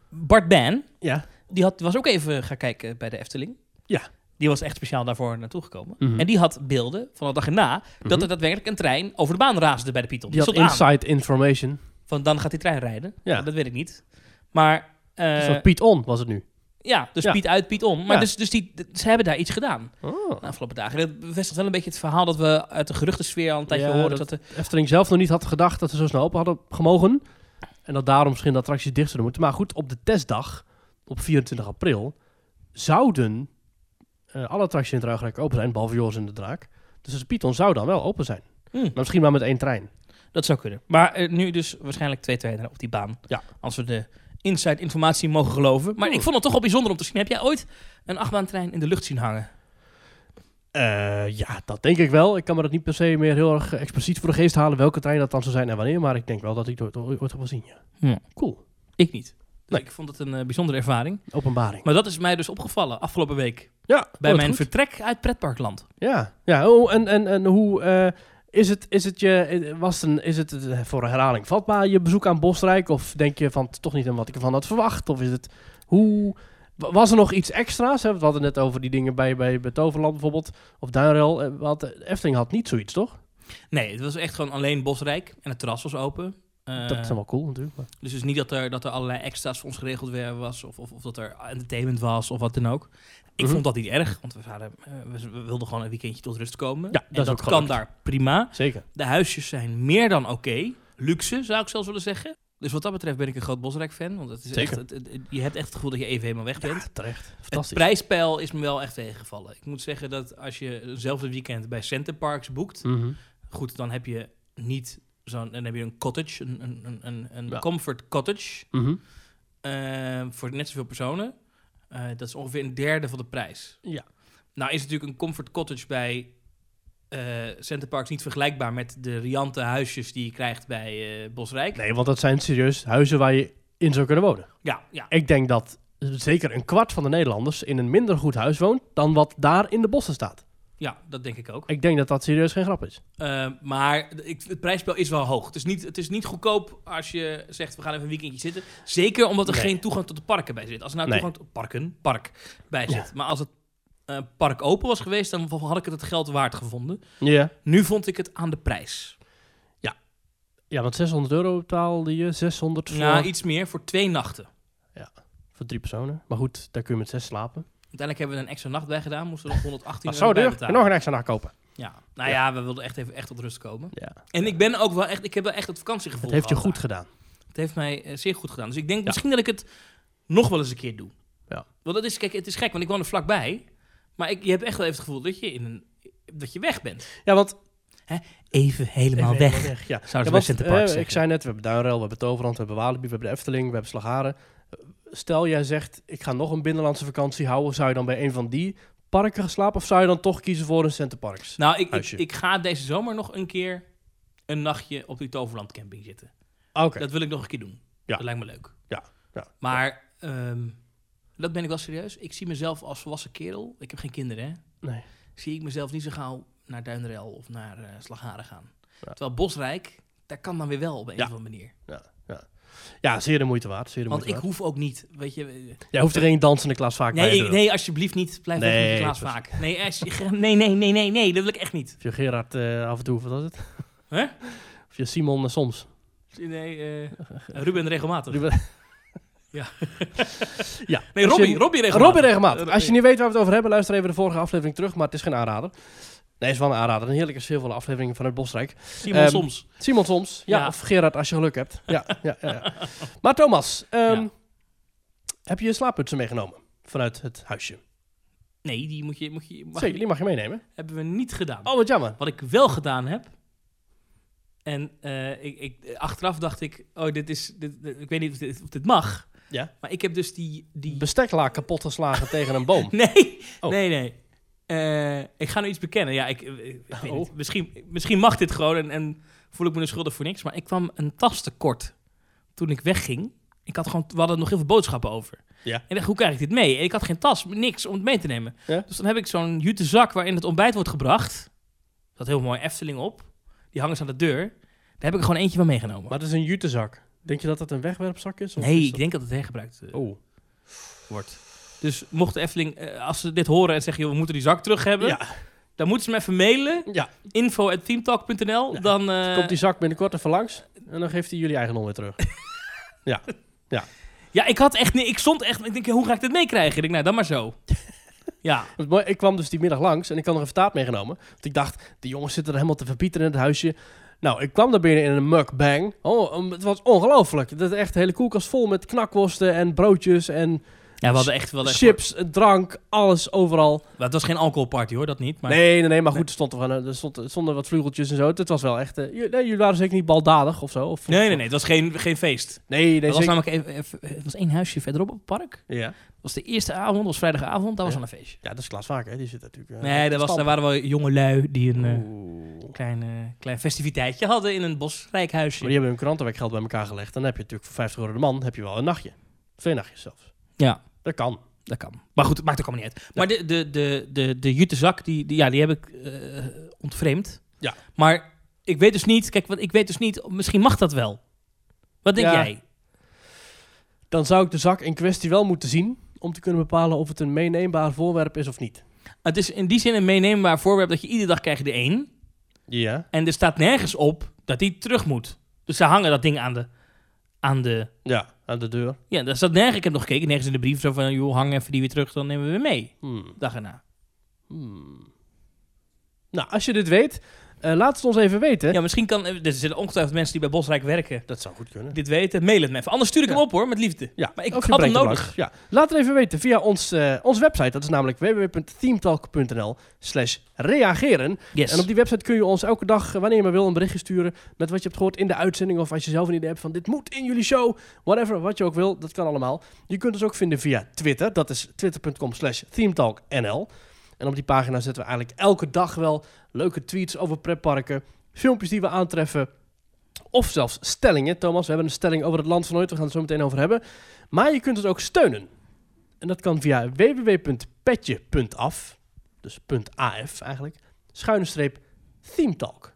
Bart Ban, Ja. die had, was ook even gaan kijken bij de Efteling. Ja. Die was echt speciaal daarvoor naartoe gekomen. Mhm. En die had beelden van de dag erna dat er daadwerkelijk een trein over de baan raasde bij de Python. Die had stond aan. inside information. Van dan gaat die trein rijden. Ja. Ja. Dat weet ik niet. Maar... eh, Een soort Piet On was het nu. ja, dus Ja. Piet uit, Piet om. Maar Ja. dus, dus die, ze hebben daar iets gedaan. Oh. de afgelopen dagen. Dat bevestigt wel een beetje het verhaal dat we uit de geruchtensfeer al een tijdje Ja, horen. dat- Dat, eh, er Efteling zelf nog niet had gedacht dat ze zo snel open hadden gemogen. En dat daarom misschien de attracties dicht zouden moeten. Maar goed, op de testdag, op 24 april, zouden eh, alle attracties in het Ruigrijk open zijn, behalve Joris en de Draak. Dus de Python zou dan wel open zijn. Hmm. Maar misschien maar met één trein. dat zou kunnen. Maar eh, nu dus waarschijnlijk twee treinen op die baan. Ja. Als we de inside informatie mogen geloven. Maar Hmm. ik vond het toch wel bijzonder om te zien. Heb jij ooit een achtbaantrein in de lucht zien hangen? Eh, ja, dat denk ik wel. Ik kan me dat niet per se meer heel erg eh, expliciet voor de geest halen welke trein dat dan zou zijn en wanneer. Maar ik denk wel dat ik het ooit, ooit heb gezien. Ja. Ja. Cool. Ik niet. Dus Hm. Nee. ik vond het een eh, bijzondere ervaring. Openbaring. Maar dat is mij dus opgevallen afgelopen week. Ja, Bij oh, wat mijn goed. vertrek uit Pretparkland. Ja, ja. Oh, en, en, en hoe eh, is het, is het, je, was het een, is het eh, voor een herhaling vatbaar, je bezoek aan Bosrijk? Of denk je van "Het is toch niet aan wat ik ervan had verwacht? Of is het, hoe, wa- was er nog iets extra's? Hè? We hadden net over die dingen bij, bij, bij Toverland bijvoorbeeld, of Duinrel. Eh, we hadden- Efteling had niet zoiets, toch? Nee, het was echt gewoon alleen Bosrijk. En het terras was open. Eh, dat is dan wel cool natuurlijk. Maar. Dus het is niet dat er, dat er allerlei extra's voor ons geregeld werden was. Of, of, of dat er entertainment was of wat dan ook. Ik Mhm. vond dat niet erg, want we, waren, eh, we, we wilden gewoon een weekendje tot rust komen. Ja, en dat is dat, ook kan gelukt. daar prima. Zeker. De huisjes zijn meer dan oké. Luxe, zou ik zelfs willen zeggen. Dus wat dat betreft ben ik een groot Bosrijk-fan. Want het is Zeker. Echt, het- het- je hebt echt het gevoel dat je even helemaal weg bent. Ah, terecht. het Fantastisch. prijspeil is me wel echt tegengevallen. Ik moet zeggen dat als je hetzelfde weekend bij Center Parks boekt... Mhm. Goed, dan heb je niet zo'n... Dan heb je een cottage, een, een, een- een, een Ja. comfort cottage... Mhm. Ehm, voor net zoveel personen. Eh, dat is ongeveer een derde van de prijs. Ja. Nou is natuurlijk een comfort cottage bij eh Center Parks niet vergelijkbaar met de riante huisjes die je krijgt bij eh Bosrijk. Nee, want dat zijn serieus huizen waar je in zou kunnen wonen. Ja, ja. Ik denk dat zeker een kwart van de Nederlanders in een minder goed huis woont dan wat daar in de bossen staat. ja, dat denk ik ook. Ik denk dat dat serieus geen grap is. Ehm, maar ik, het prijsspel is wel hoog. Het is, niet, het is niet goedkoop als je zegt, we gaan even een weekendje zitten. Zeker omdat er Nee. geen toegang tot de parken bij zit. Als er nou Nee. toegang tot parken, park bij Ja. zit. Maar als het eh, park open was geweest, dan had ik het het geld waard gevonden. Ja. Nu vond ik het aan de prijs. Ja, want 600 euro betaalde je, 600 voor, Nou, iets meer voor twee nachten. voor drie personen. Maar goed, daar kun je met zes slapen. Uiteindelijk hebben we er een extra nacht bij gedaan. Moesten we nog [laughs] 118 Maar euro zo bij duur, en betalen. nog een extra nacht kopen. Ja. Nou ja, we wilden echt even echt tot rust komen. Ja. En ik ben ook wel echt... Ik heb wel echt het vakantiegevoel Dat heeft je gehad goed daar. gedaan. Het heeft mij eh, zeer goed gedaan. Dus ik denk Ja. misschien dat ik het nog wel eens een keer doe. Ja. Want dat is... Kijk, het is gek, want ik woon er vlakbij. Maar ik, je hebt echt wel even het gevoel dat je in een... Dat je weg bent. Ja, want... Even helemaal Even helemaal Ja. Zouden ze bij want, Center eh, Parcs Ik zeggen. zei net, we hebben Duinrel, we hebben Toverland, we hebben Walibi, we hebben de Efteling, we hebben Slagharen. Eh, Stel, jij zegt, ik ga nog een binnenlandse vakantie houden. Zou je dan bij een van die parken gaan slapen? Of zou je dan toch kiezen voor een centerparks? Nou, ik, ik, Huisje. ik ga deze zomer nog een keer een nachtje op die Toverland camping zitten. Oké. Nou, Dat wil ik nog een keer doen. Ja. Dat lijkt me leuk. Ja, ja. Maar ehm, dat ben ik wel serieus. Ik zie mezelf als volwassen kerel. Ik heb geen kinderen, hè. Nee. Zie ik mezelf niet zo gauw naar Duinrel of naar eh, Slagharen gaan. Ja. Terwijl Bosrijk, daar kan dan weer wel op een Ja. of andere manier. Ja, ja. ja, zeer de moeite waard. Zeer de Want moeite ik hoef ook niet, weet je... eh, waard. Jij hoeft er geen dansende klas vaak bij Nee, te ik, doen. nee, alsjeblieft niet. Blijf weg met Nee, je Klaas dat is- vaak. Nee, als je- [laughs] nee, nee, nee, nee, nee, dat wil ik echt niet. Of je Gerard eh, af en toe, wat was het? Hè? Of je Simon eh, soms. Nee, eh, Ruben regelmatig. Ruben- Ja. [laughs] Ja. Nee, Als Robbie, je- Robbie regelmatig. Robin regelmatig. Eh, Als je niet weet waar we het over hebben, luister even de vorige aflevering terug. Maar het is geen aanrader. Nee, is wel een aanrader. Een heerlijke, sfeervolle aflevering vanuit Bosrijk. Simon Ehm, soms. Simon soms. Ja, Ja. of Gerard als je geluk [laughs] hebt. Ja, ja, ja, ja. Maar Thomas, ehm, Ja. heb je je slaapputsen meegenomen vanuit het huisje? Nee, die moet je, moet je, mag Zeker, die mag je meenemen. hebben we niet gedaan. Oh, wat jammer. Wat ik wel gedaan heb. En eh, ik, ik, achteraf dacht ik, oh, dit is. Dit, dit- ik weet niet of dit, of dit mag. Ja. Maar ik heb dus die... die... Besteklaar kapot geslagen tegen een [laughs] boom. Nee, Oh. nee, nee. Eh, ik ga nu iets bekennen. Ja, ik, eh, ik weet niet. Oh. Misschien, misschien mag dit gewoon en, en voel ik me dus schuldig voor niks. Maar ik kwam een tas tekort toen ik wegging. Ik had gewoon, we hadden nog heel veel boodschappen over. Ja. En ik dacht, hoe krijg ik dit mee? En ik had geen tas, niks om het mee te nemen. Ja. Dus dan heb ik zo'n jute zak waarin het ontbijt wordt gebracht. Er zat heel mooi Efteling op. Die hangen ze aan de deur. Daar heb ik er gewoon eentje van meegenomen. Maar dat is een jutezak. Denk je dat dat een wegwerpzak is? Of nee, is ik denk dat het hergebruikt eh, dat- Oh. wordt. Dus mocht de Efteling, eh, als ze dit horen en zeggen, joh, we moeten die zak terug hebben. Ja, Dan moeten ze me even mailen. ja. info.teamtalk.nl. Ja. Dan eh, komt dus- die zak binnenkort even langs en dan geeft hij jullie eigendom weer terug. Ja, ik had echt... Nee, ik stond echt... Ik denk, hoe ga ik dit meekrijgen? Ik denk, nou, dan maar [laughs] zo. ja. Dat is mooi. Ik kwam dus die middag langs en ik had nog een taart meegenomen. Want ik dacht, die jongens zitten er helemaal te verpieteren in het huisje. Nou, ik kwam daar binnen in een mukbang. Oh, um, het was ongelooflijk. Dat is echt de hele koelkast vol met knakworsten en broodjes en ja, we hadden echt... wel echt chips, drank, alles overal. Maar het was geen alcoholparty, hoor. Dat niet. Maar nee, nee, nee, maar goed, Nee. er, stond er, van, eh, er stond, er stonden wat vlugeltjes en zo. Het was wel echt... eh, j- nee, jullie waren zeker niet baldadig of zo. Of, nee, nee. nee, Het was geen, geen feest. Nee, nee, Het was zeker- namelijk even, even- het was één huisje verderop op het park. Ja. Dat was de eerste avond. Dat was vrijdagavond. Dat was Ja. al een feestje. ja, dat is Klaas Vaak, hè. Die zit daar natuurlijk... eh, Nee, te daar, was, daar stampen. waren wel jonge lui die een eh, Oeh. klein, eh, klein festiviteitje hadden in een bosrijk Maar huisje. die hebben hun krantenwerkgeld bij elkaar gelegd. Dan heb je natuurlijk voor 50 euro de man heb je wel een nachtje. Twee nachtjes zelfs. Ja. Dat kan. Dat kan. Maar goed, het maakt ook allemaal niet uit. Maar de, de, de, de, de jute zak, die, die, ja, die heb ik eh, ontvreemd. Ja. Maar ik weet dus niet, kijk, want ik weet dus niet, misschien mag dat wel. Wat denk Ja. jij? Dan zou ik de zak in kwestie wel moeten zien om te kunnen bepalen of het een meeneembaar voorwerp is of niet. Het is in die zin een meeneembaar voorwerp dat je iedere dag krijgt de één. Ja. En er staat nergens op dat die terug moet. Dus ze hangen dat ding aan de, aan de, Ja, aan de deur. ja, daar staat nergens, ik heb nog gekeken, nergens in de brief zo van, joh, hang even die weer terug, dan nemen we weer mee. Hmm. Dag erna. Hmm. Nou, als je dit weet, eh, laat het ons even weten. Ja, misschien kan, er zitten ongetwijfeld mensen die bij Bosrijk werken Dat zou goed kunnen. dit weten. Mail het me even. Anders stuur ik hem Ja. op hoor, met liefde. Ja, Maar ik of je had hem brengt nodig. langs. Ja. Laat het even weten via ons, eh, onze website. Dat is namelijk www.themetalk.nl slash reageren. Yes. En op die website kun je ons elke dag, eh, wanneer je maar wil, een berichtje sturen met wat je hebt gehoord in de uitzending. Of als je zelf een idee hebt van dit moet in jullie show. Whatever, wat je ook wil, dat kan allemaal. Je kunt ons ook vinden via Twitter. Dat is twitter.com slash themetalknl. En op die pagina zetten we eigenlijk elke dag wel leuke tweets over pretparken. Filmpjes die we aantreffen. Of zelfs stellingen. Thomas, we hebben een stelling over het land van ooit. We gaan het zo meteen over hebben. Maar je kunt het ook steunen. En dat kan via www.petje.af. Dus .af eigenlijk schuine streep Theme Talk.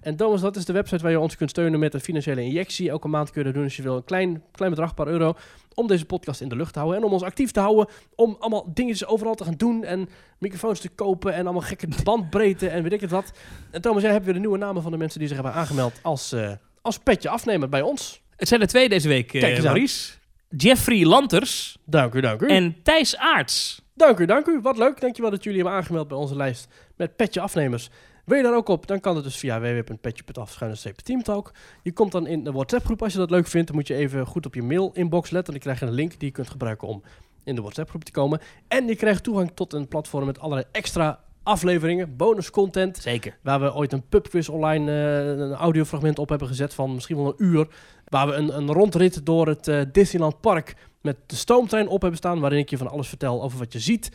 En Thomas, dat is de website waar je ons kunt steunen met een financiële injectie. Elke maand kun je dat doen als je wil. Een klein, klein bedrag, een paar euro. Om deze podcast in de lucht te houden. En om ons actief te houden. Om allemaal dingetjes overal te gaan doen. En microfoons te kopen. En allemaal gekke bandbreedte en weet ik het wat. En Thomas, jij hebt weer de nieuwe namen van de mensen die zich hebben aangemeld als, eh, als petje afnemer bij ons. Het zijn er twee deze week, eh, Kijk eens aan. Hm. Maurice. Jeffrey Lanters Dank u, dank u. en Thijs Aarts. Dank u, dank u. Wat leuk. Dankjewel dat jullie hebben aangemeld bij onze lijst met petje afnemers. Wil je daar ook op, dan kan het dus via www.petje.af-teamtalk. Je komt dan in de WhatsApp-groep als je dat leuk vindt. Dan moet je even goed op je mail-inbox letten. Dan krijg je een link die je kunt gebruiken om in de WhatsApp-groep te komen. En je krijgt toegang tot een platform met allerlei extra afleveringen, bonus content. Zeker. Waar we ooit een pubquiz online, eh, een audiofragment op hebben gezet van misschien wel een uur. Waar we een, een rondrit door het eh, Disneyland Park met de stoomtrein op hebben staan. Waarin ik je van alles vertel over wat je ziet.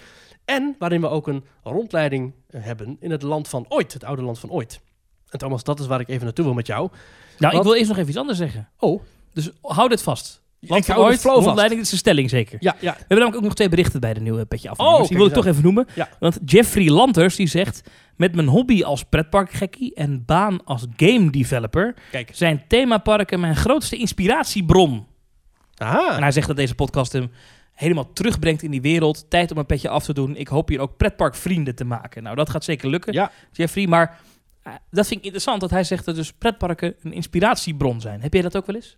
En waarin we ook een rondleiding eh, hebben in het land van ooit. Het oude land van ooit. En Thomas, dat is waar ik even naartoe wil met jou. Wat? Nou, ik wil eerst nog even iets anders zeggen. Oh, Dus hou dit vast. Want ik hou ooit, de flow vast. rondleiding, dit is een stelling zeker. Ja, ja. We hebben namelijk ook nog twee berichten bij de nieuwe petje af. Oh, die wil ik kijk toch even noemen. Ja. Want Jeffrey Lanters die zegt... Met mijn hobby als pretparkgekkie en baan als game developer... Kijk. zijn themaparken mijn grootste inspiratiebron. En Aha. hij zegt dat deze podcast hem helemaal terugbrengt in die wereld. Tijd om een petje af te doen. Ik hoop hier ook pretparkvrienden te maken. Nou, dat gaat zeker lukken, Ja. Jeffrey. Maar eh, dat vind ik interessant, dat hij zegt dat dus pretparken een inspiratiebron zijn. Heb jij dat ook wel eens?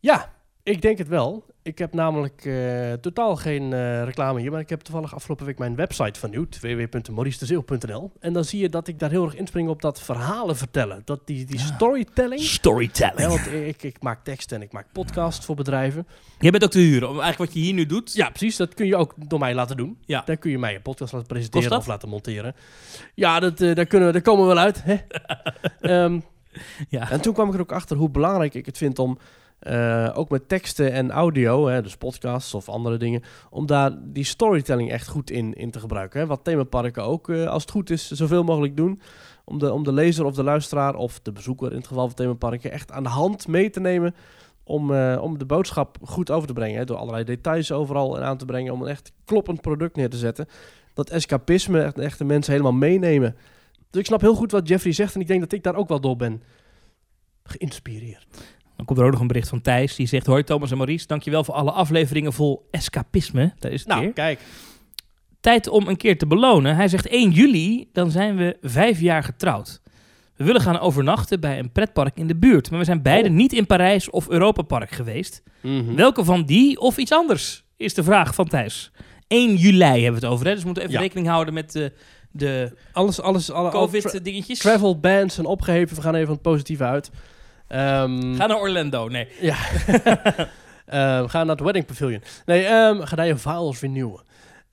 Ja, ik denk het wel. Ik heb namelijk eh, totaal geen eh, reclame hier, maar ik heb toevallig afgelopen week mijn website vernieuwd, www.mauricedezeeuw.nl. En dan zie je dat ik daar heel erg inspring op dat verhalen vertellen, dat die, die Ja. storytelling. Hè, Storytelling. want ik, ik maak teksten en ik maak podcasts voor bedrijven. Jij bent ook te huren. Eigenlijk wat je hier nu doet. Ja, precies. Dat kun je ook door mij laten doen. Ja. Daar kun je mij een podcast laten Kost presenteren dat? of laten monteren. Ja, dat, eh, daar, kunnen we, daar [laughs] komen we wel uit. Hè? Ehm, Ja. En toen kwam ik er ook achter hoe belangrijk ik het vind om eh, ook met teksten en audio, hè, dus podcasts of andere dingen, om daar die storytelling echt goed in, in te gebruiken. Hè. Wat themaparken ook, eh, als het goed is, zoveel mogelijk doen. Om de, om de lezer of de luisteraar of de bezoeker in het geval van themaparken echt aan de hand mee te nemen. Om, eh, om de boodschap goed over te brengen. Hè, door allerlei details overal aan te brengen. Om een echt kloppend product neer te zetten. Dat escapisme echt, echt de mensen helemaal meenemen. Dus ik snap heel goed wat Jeffrey zegt. En ik denk dat ik daar ook wel door ben geïnspireerd. Dan komt er ook nog een bericht van Thijs. Die zegt, hoi Thomas en Maurice, dankjewel voor alle afleveringen vol escapisme. Daar is het weer. Nou, kijk. Tijd om een keer te belonen. Hij zegt 1 juli, dan zijn we vijf jaar getrouwd. We willen gaan overnachten bij een pretpark in de buurt. Maar we zijn beide Oh. Hm. niet in Parijs of Europa Park geweest. Mhm. Welke van die of iets anders is de vraag van Thijs. 1 juli hebben we het over. Hè? Dus we moeten even Ja. rekening houden met de, de Alles, alles, alle, alle tra- COVID-dingetjes. travel bans zijn opgeheven. We gaan even van het positieve uit. Ehm, Ga naar Orlando. Nee. [laughs] Eh, we gaan naar het Wedding Pavilion. Nee, ehm ga daar je files vernieuwen.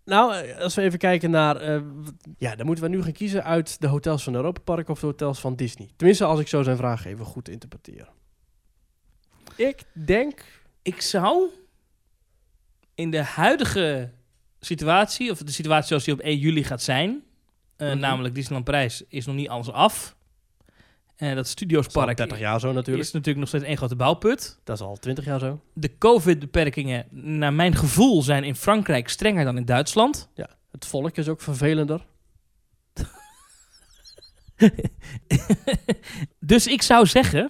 Nou, eh, als we even kijken naar... eh, w- ja, dan moeten we nu gaan kiezen uit de hotels van Europa Park of de hotels van Disney. Tenminste, als ik zo zijn vraag even goed interpreteer. Ik denk... Ik zou in de huidige situatie, of de situatie zoals die op 1 juli gaat zijn, eh, Mhm. namelijk Disneyland Parijs is nog niet alles af. En dat Dat is al Studiospark 30 jaar zo natuurlijk. is natuurlijk nog steeds één grote bouwput. Dat is al 20 jaar zo. De COVID-beperkingen, naar mijn gevoel, zijn in Frankrijk strenger dan in Duitsland. Het volk is ook vervelender. Dus ik zou zeggen,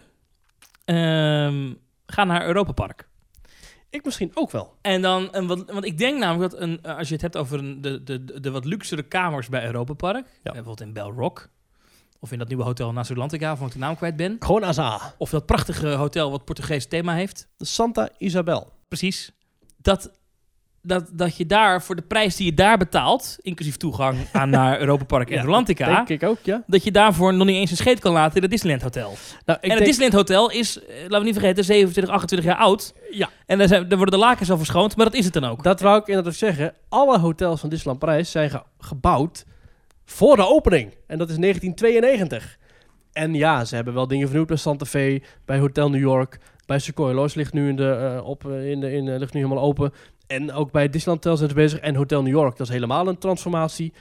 ehm, ga naar Europa Park. Ik misschien ook wel. En dan, een wat, want ik denk namelijk dat een, eh, als je het hebt over een, de, de, de- de wat luxere kamers bij Europa Park, eh, bijvoorbeeld in Belrock, of in dat nieuwe hotel naast Atlantica, van ik de naam kwijt ben, Gewoon Aza. of dat prachtige hotel wat Portugees thema heeft, Santa Isabel. precies, dat, dat, dat je daar voor de prijs die je daar betaalt, inclusief toegang aan [laughs] naar Europa Park en Ja, Atlantica, Denk ik ook, ja. dat je daarvoor nog niet eens een scheet kan laten in het Disneyland Hotel. Nou, ik en het denk- Disneyland Hotel is, eh, laten we niet vergeten, 27, 28 jaar oud. Ja. En daar, zijn, daar worden de lakens al verschoond, maar dat is het dan ook. Dat wou ik inderdaad zeggen. Alle hotels van Disneyland Parijs zijn ge- gebouwd voor de opening. En dat is 1992. En ja, ze hebben wel dingen vernieuwd bij Santa Fe, bij Hotel New York, bij Sequoia Lodge ligt nu, in de, eh, op, eh, in de, in, eh, ligt nu helemaal open. En ook bij Disneyland Hotel zijn ze bezig. En Hotel New York, dat is helemaal een transformatie.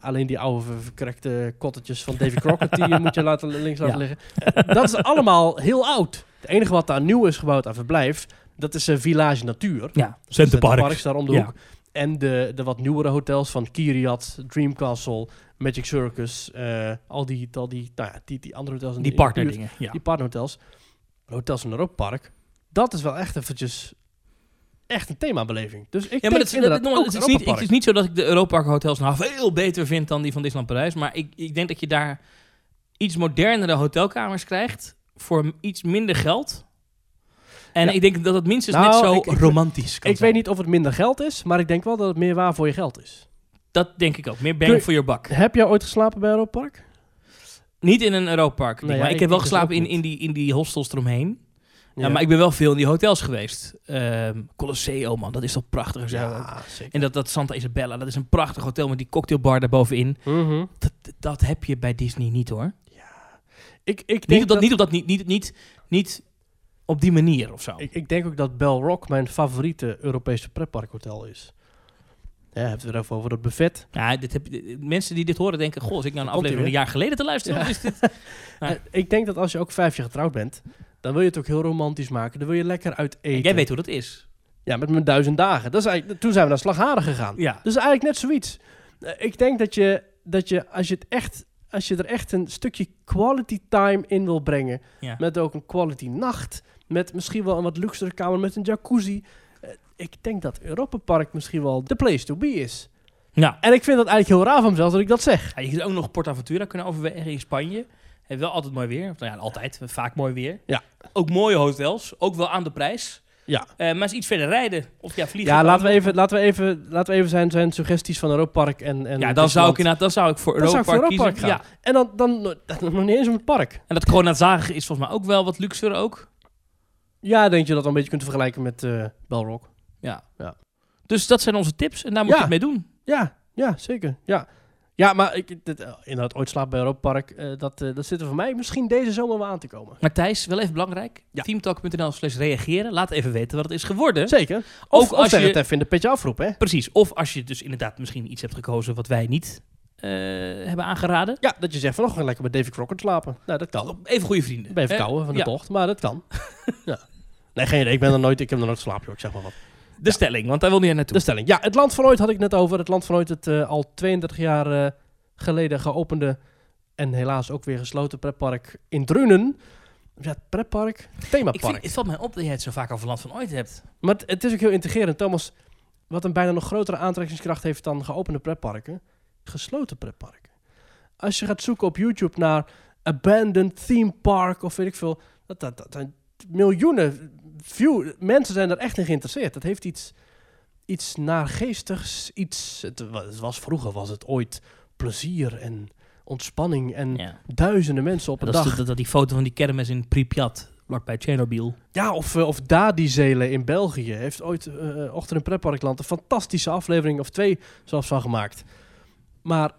Alleen die oude ver- verkrekte kottetjes van Davy Crockett, [laughs] die eh, moet je laten, links laten Ja. liggen. Dat is allemaal heel oud. Het enige wat daar nieuw is gebouwd aan verblijf, dat is eh, Village Natuur. Ja, Park is daar om de Ja. hoek. En de, de wat nieuwere hotels van Kiriat, Dream Castle, Magic Circus. eh, al die, al die, nou ja, die, die andere hotels. in de- in Die de buurt. partnerdingen. Ja. Die partnerhotels. Hotels in Europa Park. Dat is wel echt eventjes echt een themabeleving. Dus ik Ja, maar denk dat is, inderdaad dat- dat- ook het, is Europa niet, Park. het is niet zo dat ik de Europa hotels nou veel beter vind dan die van Disneyland Parijs. Maar ik, ik denk dat je daar iets modernere hotelkamers krijgt voor m- iets minder geld. En Ja. ik denk dat het minstens Nou, net zo ik- ik- romantisch [laughs] kan ik zijn. weet niet of het minder geld is, maar ik denk wel dat het meer waar voor je geld is. Dat denk ik ook. Meer Kun- bang voor je bak. Heb jij ooit geslapen bij Europa Park? Niet in een Europa Park. Nee, ja, maar ik, ik heb wel dus geslapen ook in, niet. in, die, in die hostels eromheen. Ja. maar ik ben wel veel in die hotels geweest. Ehm Colosseum, man. Dat is toch prachtig. ja, gezellig. zeker. En dat, dat Santa Isabella, dat is een prachtig hotel met die cocktailbar daarbovenin. Mhm. Dat, dat heb je bij Disney niet hoor. Ik, ik Niet denk op dat, niet op dat, niet, niet, niet, niet op die manier of zo. Ik, ik denk ook dat Belrock mijn favoriete Europese pretparkhotel is. Ja, hebben we het erover over dat buffet. Ja, dit heb, dit- mensen die dit horen denken, goh, als ik nou een Daar komt aflevering ie een jaar geleden te luisteren, Ja. wat is dit? Ja. Eh, ik denk dat als je ook vijf jaar getrouwd bent, dan wil je het ook heel romantisch maken. Dan wil je lekker uit eten. Jij weet hoe dat is. Ja, met mijn duizend dagen. Dat is eigenlijk, toen zijn we naar Slagharen gegaan. Ja. Dus eigenlijk net zoiets. Eh, ik denk dat je, dat je, als je het echt... Als je er echt een stukje quality time in wil brengen. Ja. Met ook een quality nacht. Met misschien wel een wat luxere kamer met een jacuzzi. eh, ik denk dat Europa Park misschien wel de place to be is. Nou, En ik vind dat eigenlijk heel raar van mezelf dat ik dat zeg. ja, je zou ook nog PortAventura kunnen overwegen in Spanje. Heeft wel altijd mooi weer. Of, Nou ja, altijd. Vaak mooi weer. Ja. Ook mooie hotels. Ook wel aan de prijs. Ja. Eh, maar is iets verder rijden. Of ja, vliegen. Ja, kan laten we ook. even, laten we even, laten we even zijn, zijn suggesties van Europa Park en, en Ja, dan zou ik Disneyland. inderdaad, dan zou ik voor Dan zou Europa ik voor Park Europa kiezen. Park gaan. ja. En dan, dan, nog- nog niet eens om het park. En dat corona zagen is volgens mij ook wel wat luxer ook. Ja, denk je dat dan een beetje kunt vergelijken met eh Belrock? Ja. Ja. Dus dat zijn onze tips en daar moet Ja. je het mee doen. Ja, ja, zeker. Ja. Ja, maar ik, dit, eh, inderdaad, ooit slaap bij Europa Park. eh, dat, eh, dat zit er voor mij misschien deze zomer wel aan te komen. Maar Thijs, wel even belangrijk. Ja. Teamtalk.nl slash reageren. Laat even weten wat het is geworden. Zeker. Of, Ook of als zeg je- het even in de petje afroep, hè? Precies. Of als je dus inderdaad misschien iets hebt gekozen wat wij niet eh, hebben aangeraden. Ja, dat je zegt van, oh, we gaan lekker met David Crockett slapen. Nou, dat kan. Even goede vrienden. Ik ben even Eh, kouwen van de ja. tocht, maar dat [laughs] kan. ja. Nee, geen idee. Ik ben er nooit, ik heb er nooit geslapen, joh. Ik zeg maar wat. De stelling, want daar wil niet naartoe. De stelling. Ja, het Land van Ooit had ik net over. Het Land van Ooit, het eh, al 32 jaar eh, geleden geopende en helaas ook weer gesloten pretpark in Drunen. Ja, het pretpark, ik themapark. vind, het valt mij op dat jij het zo vaak over land van ooit hebt. Maar het, het is ook heel integrerend. Thomas, wat een bijna nog grotere aantrekkingskracht heeft dan geopende pretparken, gesloten pretparken. Als je gaat zoeken op YouTube naar abandoned theme park of weet ik veel, dat, dat, dat zijn miljoenen view, mensen zijn er echt in geïnteresseerd. Dat heeft iets, iets naargeestigs, iets, het wa- het was vroeger was het ooit plezier en ontspanning en Ja. duizenden mensen op een Dat, dag. is dat, dat die foto van die kermis in Pripyat, vlakbij Tsjernobyl. Ja, of, eh, of Dadi-zelen in België heeft ooit eh Ochtend in Pretparkland een fantastische aflevering of twee zelfs van gemaakt. Maar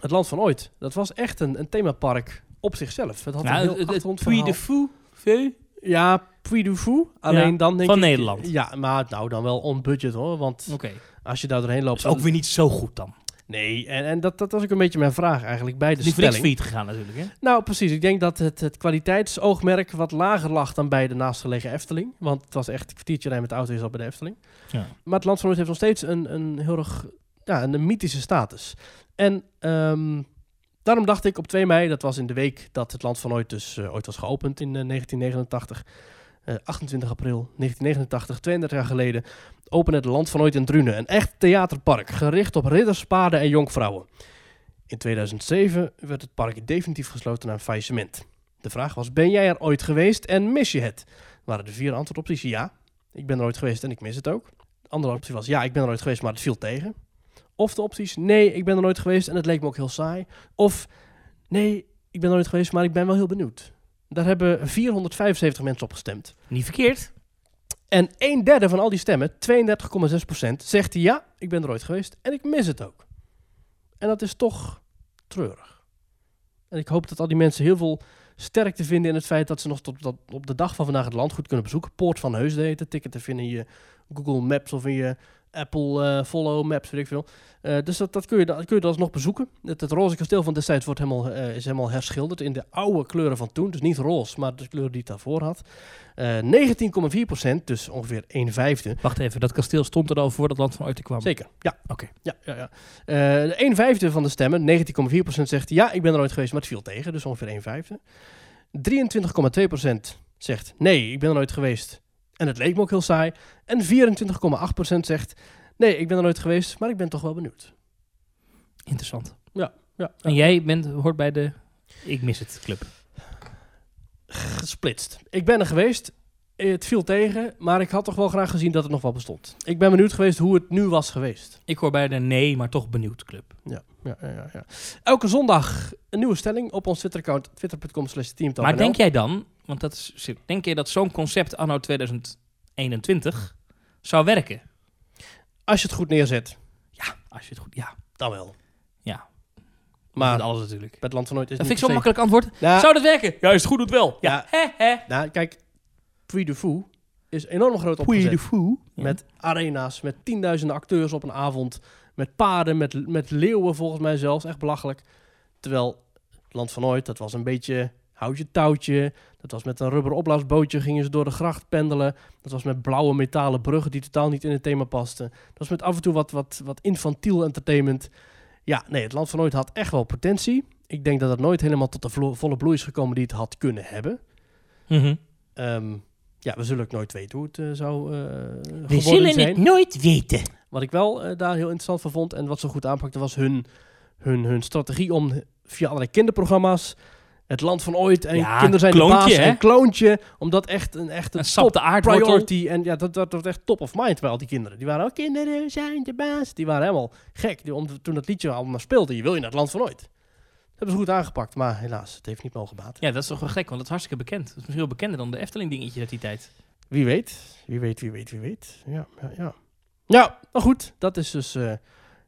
het land van ooit, dat was echt een, een themapark op zichzelf. Het had een Nou, heel het- het- achtergrond Puy de verhaal. Fou, Feu. Ja, Puy du Fou. Alleen Ja, dan denk van ik... Nederland. Ja, maar nou dan wel on budget hoor. Want Oké. als je daar doorheen loopt... Dus ook weer niet zo goed dan. Nee, en, en dat, dat was ook een beetje mijn vraag eigenlijk bij de Niet voor niks stelling. failliet gegaan natuurlijk, hè? Nou, precies. Ik denk dat het, het kwaliteitsoogmerk wat lager lag dan bij de naastgelegen Efteling. Want het was echt een kwartiertje rijden met de auto is al bij de Efteling. Ja. Maar het Land van Ooit heeft nog steeds een, een heel erg ja, een, een mythische status. En ehm, daarom dacht ik op 2 mei, dat was in de week dat het Land van Ooit dus eh, ooit was geopend in eh, 1989. eh, 28 april 1989, 32 jaar geleden, opende het Land van Ooit in Drunen. Een echt theaterpark, gericht op ridders, paarden en jonkvrouwen. In 2007 werd het park definitief gesloten na een faillissement. De vraag was: Ben jij er ooit geweest en mis je het? Waren de vier antwoordopties ja, ik ben er ooit geweest en ik mis het ook. De andere optie was ja, ik ben er ooit geweest, maar het viel tegen. Of de opties nee, ik ben er nooit geweest en het leek me ook heel saai. Of nee, ik ben er nooit geweest, maar ik ben wel heel benieuwd. Daar hebben 475 mensen op gestemd. Niet verkeerd. En een derde van al die stemmen, 32,6%, zegt ja, ik ben er ooit geweest en ik mis het ook. En dat is toch treurig. En ik hoop dat al die mensen heel veel sterkte vinden in het feit dat ze nog tot, tot op de dag van vandaag het land goed kunnen bezoeken. Poort van Heusden heet het. Ticket te vinden in je Google Maps of in je Apple eh, Follow Maps, weet ik veel. Eh, dus dat, dat kun je, dat kun je dan alsnog bezoeken. Het, het roze kasteel van destijds wordt helemaal, eh, is helemaal herschilderd in de oude kleuren van toen. Dus niet roze, maar de kleur die het daarvoor had. Eh 19,4%, dus ongeveer 1 vijfde. Wacht even, dat kasteel stond er al voor dat land van ooit kwam. Zeker, ja. Oké. Ja, ja, ja. Eh, de 1 vijfde van de stemmen, 19,4% zegt ja, ik ben er ooit geweest, maar het viel tegen. Dus ongeveer 1 vijfde. 23,2% zegt nee, ik ben er nooit geweest. En het leek me ook heel saai. En 24,8% zegt nee, ik ben er nooit geweest, maar ik ben toch wel benieuwd. Interessant. Ja, ja. En jij bent, hoort bij de Ik Mis Het Club. gesplitst. Ik ben er geweest. Het viel tegen, maar ik had toch wel graag gezien dat het nog wel bestond. Ik ben benieuwd geweest hoe het nu was geweest. Ik hoor bij de Nee, maar toch benieuwd club. Ja, ja, ja, ja, ja. Elke zondag een nieuwe stelling op ons Twitter-account twitter.com slash teamtalk. Maar denk jij dan, want dat is, denk je dat zo'n concept anno 2021 zou werken? Als je het goed neerzet, Ja, als je het goed... Ja, dan wel. ja. Maar Met bij alles natuurlijk. het land van nooit is Dat het vind ik niet zo'n per makkelijk antwoord. se- Nou, Zou dat werken? Ja, is het goed, doet wel. Ja. Ja. Hè, hè. nou, kijk, Puy de Fou is enorm groot opgezet. Fou. Met Met arena's, met tienduizenden acteurs op een avond. Met paarden, met, met leeuwen volgens mij zelfs. Echt belachelijk. Terwijl het Land van Ooit, dat was een beetje houtje touwtje. Dat was met een rubber opblaasbootje gingen ze door de gracht pendelen. Dat was met blauwe metalen bruggen die totaal niet in het thema pasten. Dat was met af en toe wat, wat, wat infantiel entertainment. Ja, nee, het Land van Ooit had echt wel potentie. Ik denk dat het nooit helemaal tot de vlo- volle bloei is gekomen die het had kunnen hebben. Mhm. Ehm, ja, we zullen ook nooit weten hoe het eh, zou eh geworden We zijn. zullen het nooit weten. Wat ik wel eh, daar heel interessant van vond en wat ze goed aanpakte was hun, hun, hun strategie om via allerlei kinderprogramma's het land van ooit en Ja, kinderen zijn Kloontje, de baas hè? en kloontje, om dat echt een echt Een een sap top de aard wordt door- priority en ja, dat, dat wordt echt top of mind bij al die kinderen. Die waren ook kinderen zijn de baas, die waren helemaal gek die, om, toen dat liedje allemaal speelde. Je wil je naar het land van ooit. Dat hebben ze goed aangepakt, maar helaas, het heeft niet mogen baten. Ja, dat is toch wel gek, want dat is hartstikke bekend. Dat is misschien wel bekender dan de Efteling dingetje uit die tijd. Wie weet, wie weet, wie weet, wie weet. Ja, ja, ja. Nou, maar goed, dat is dus eh,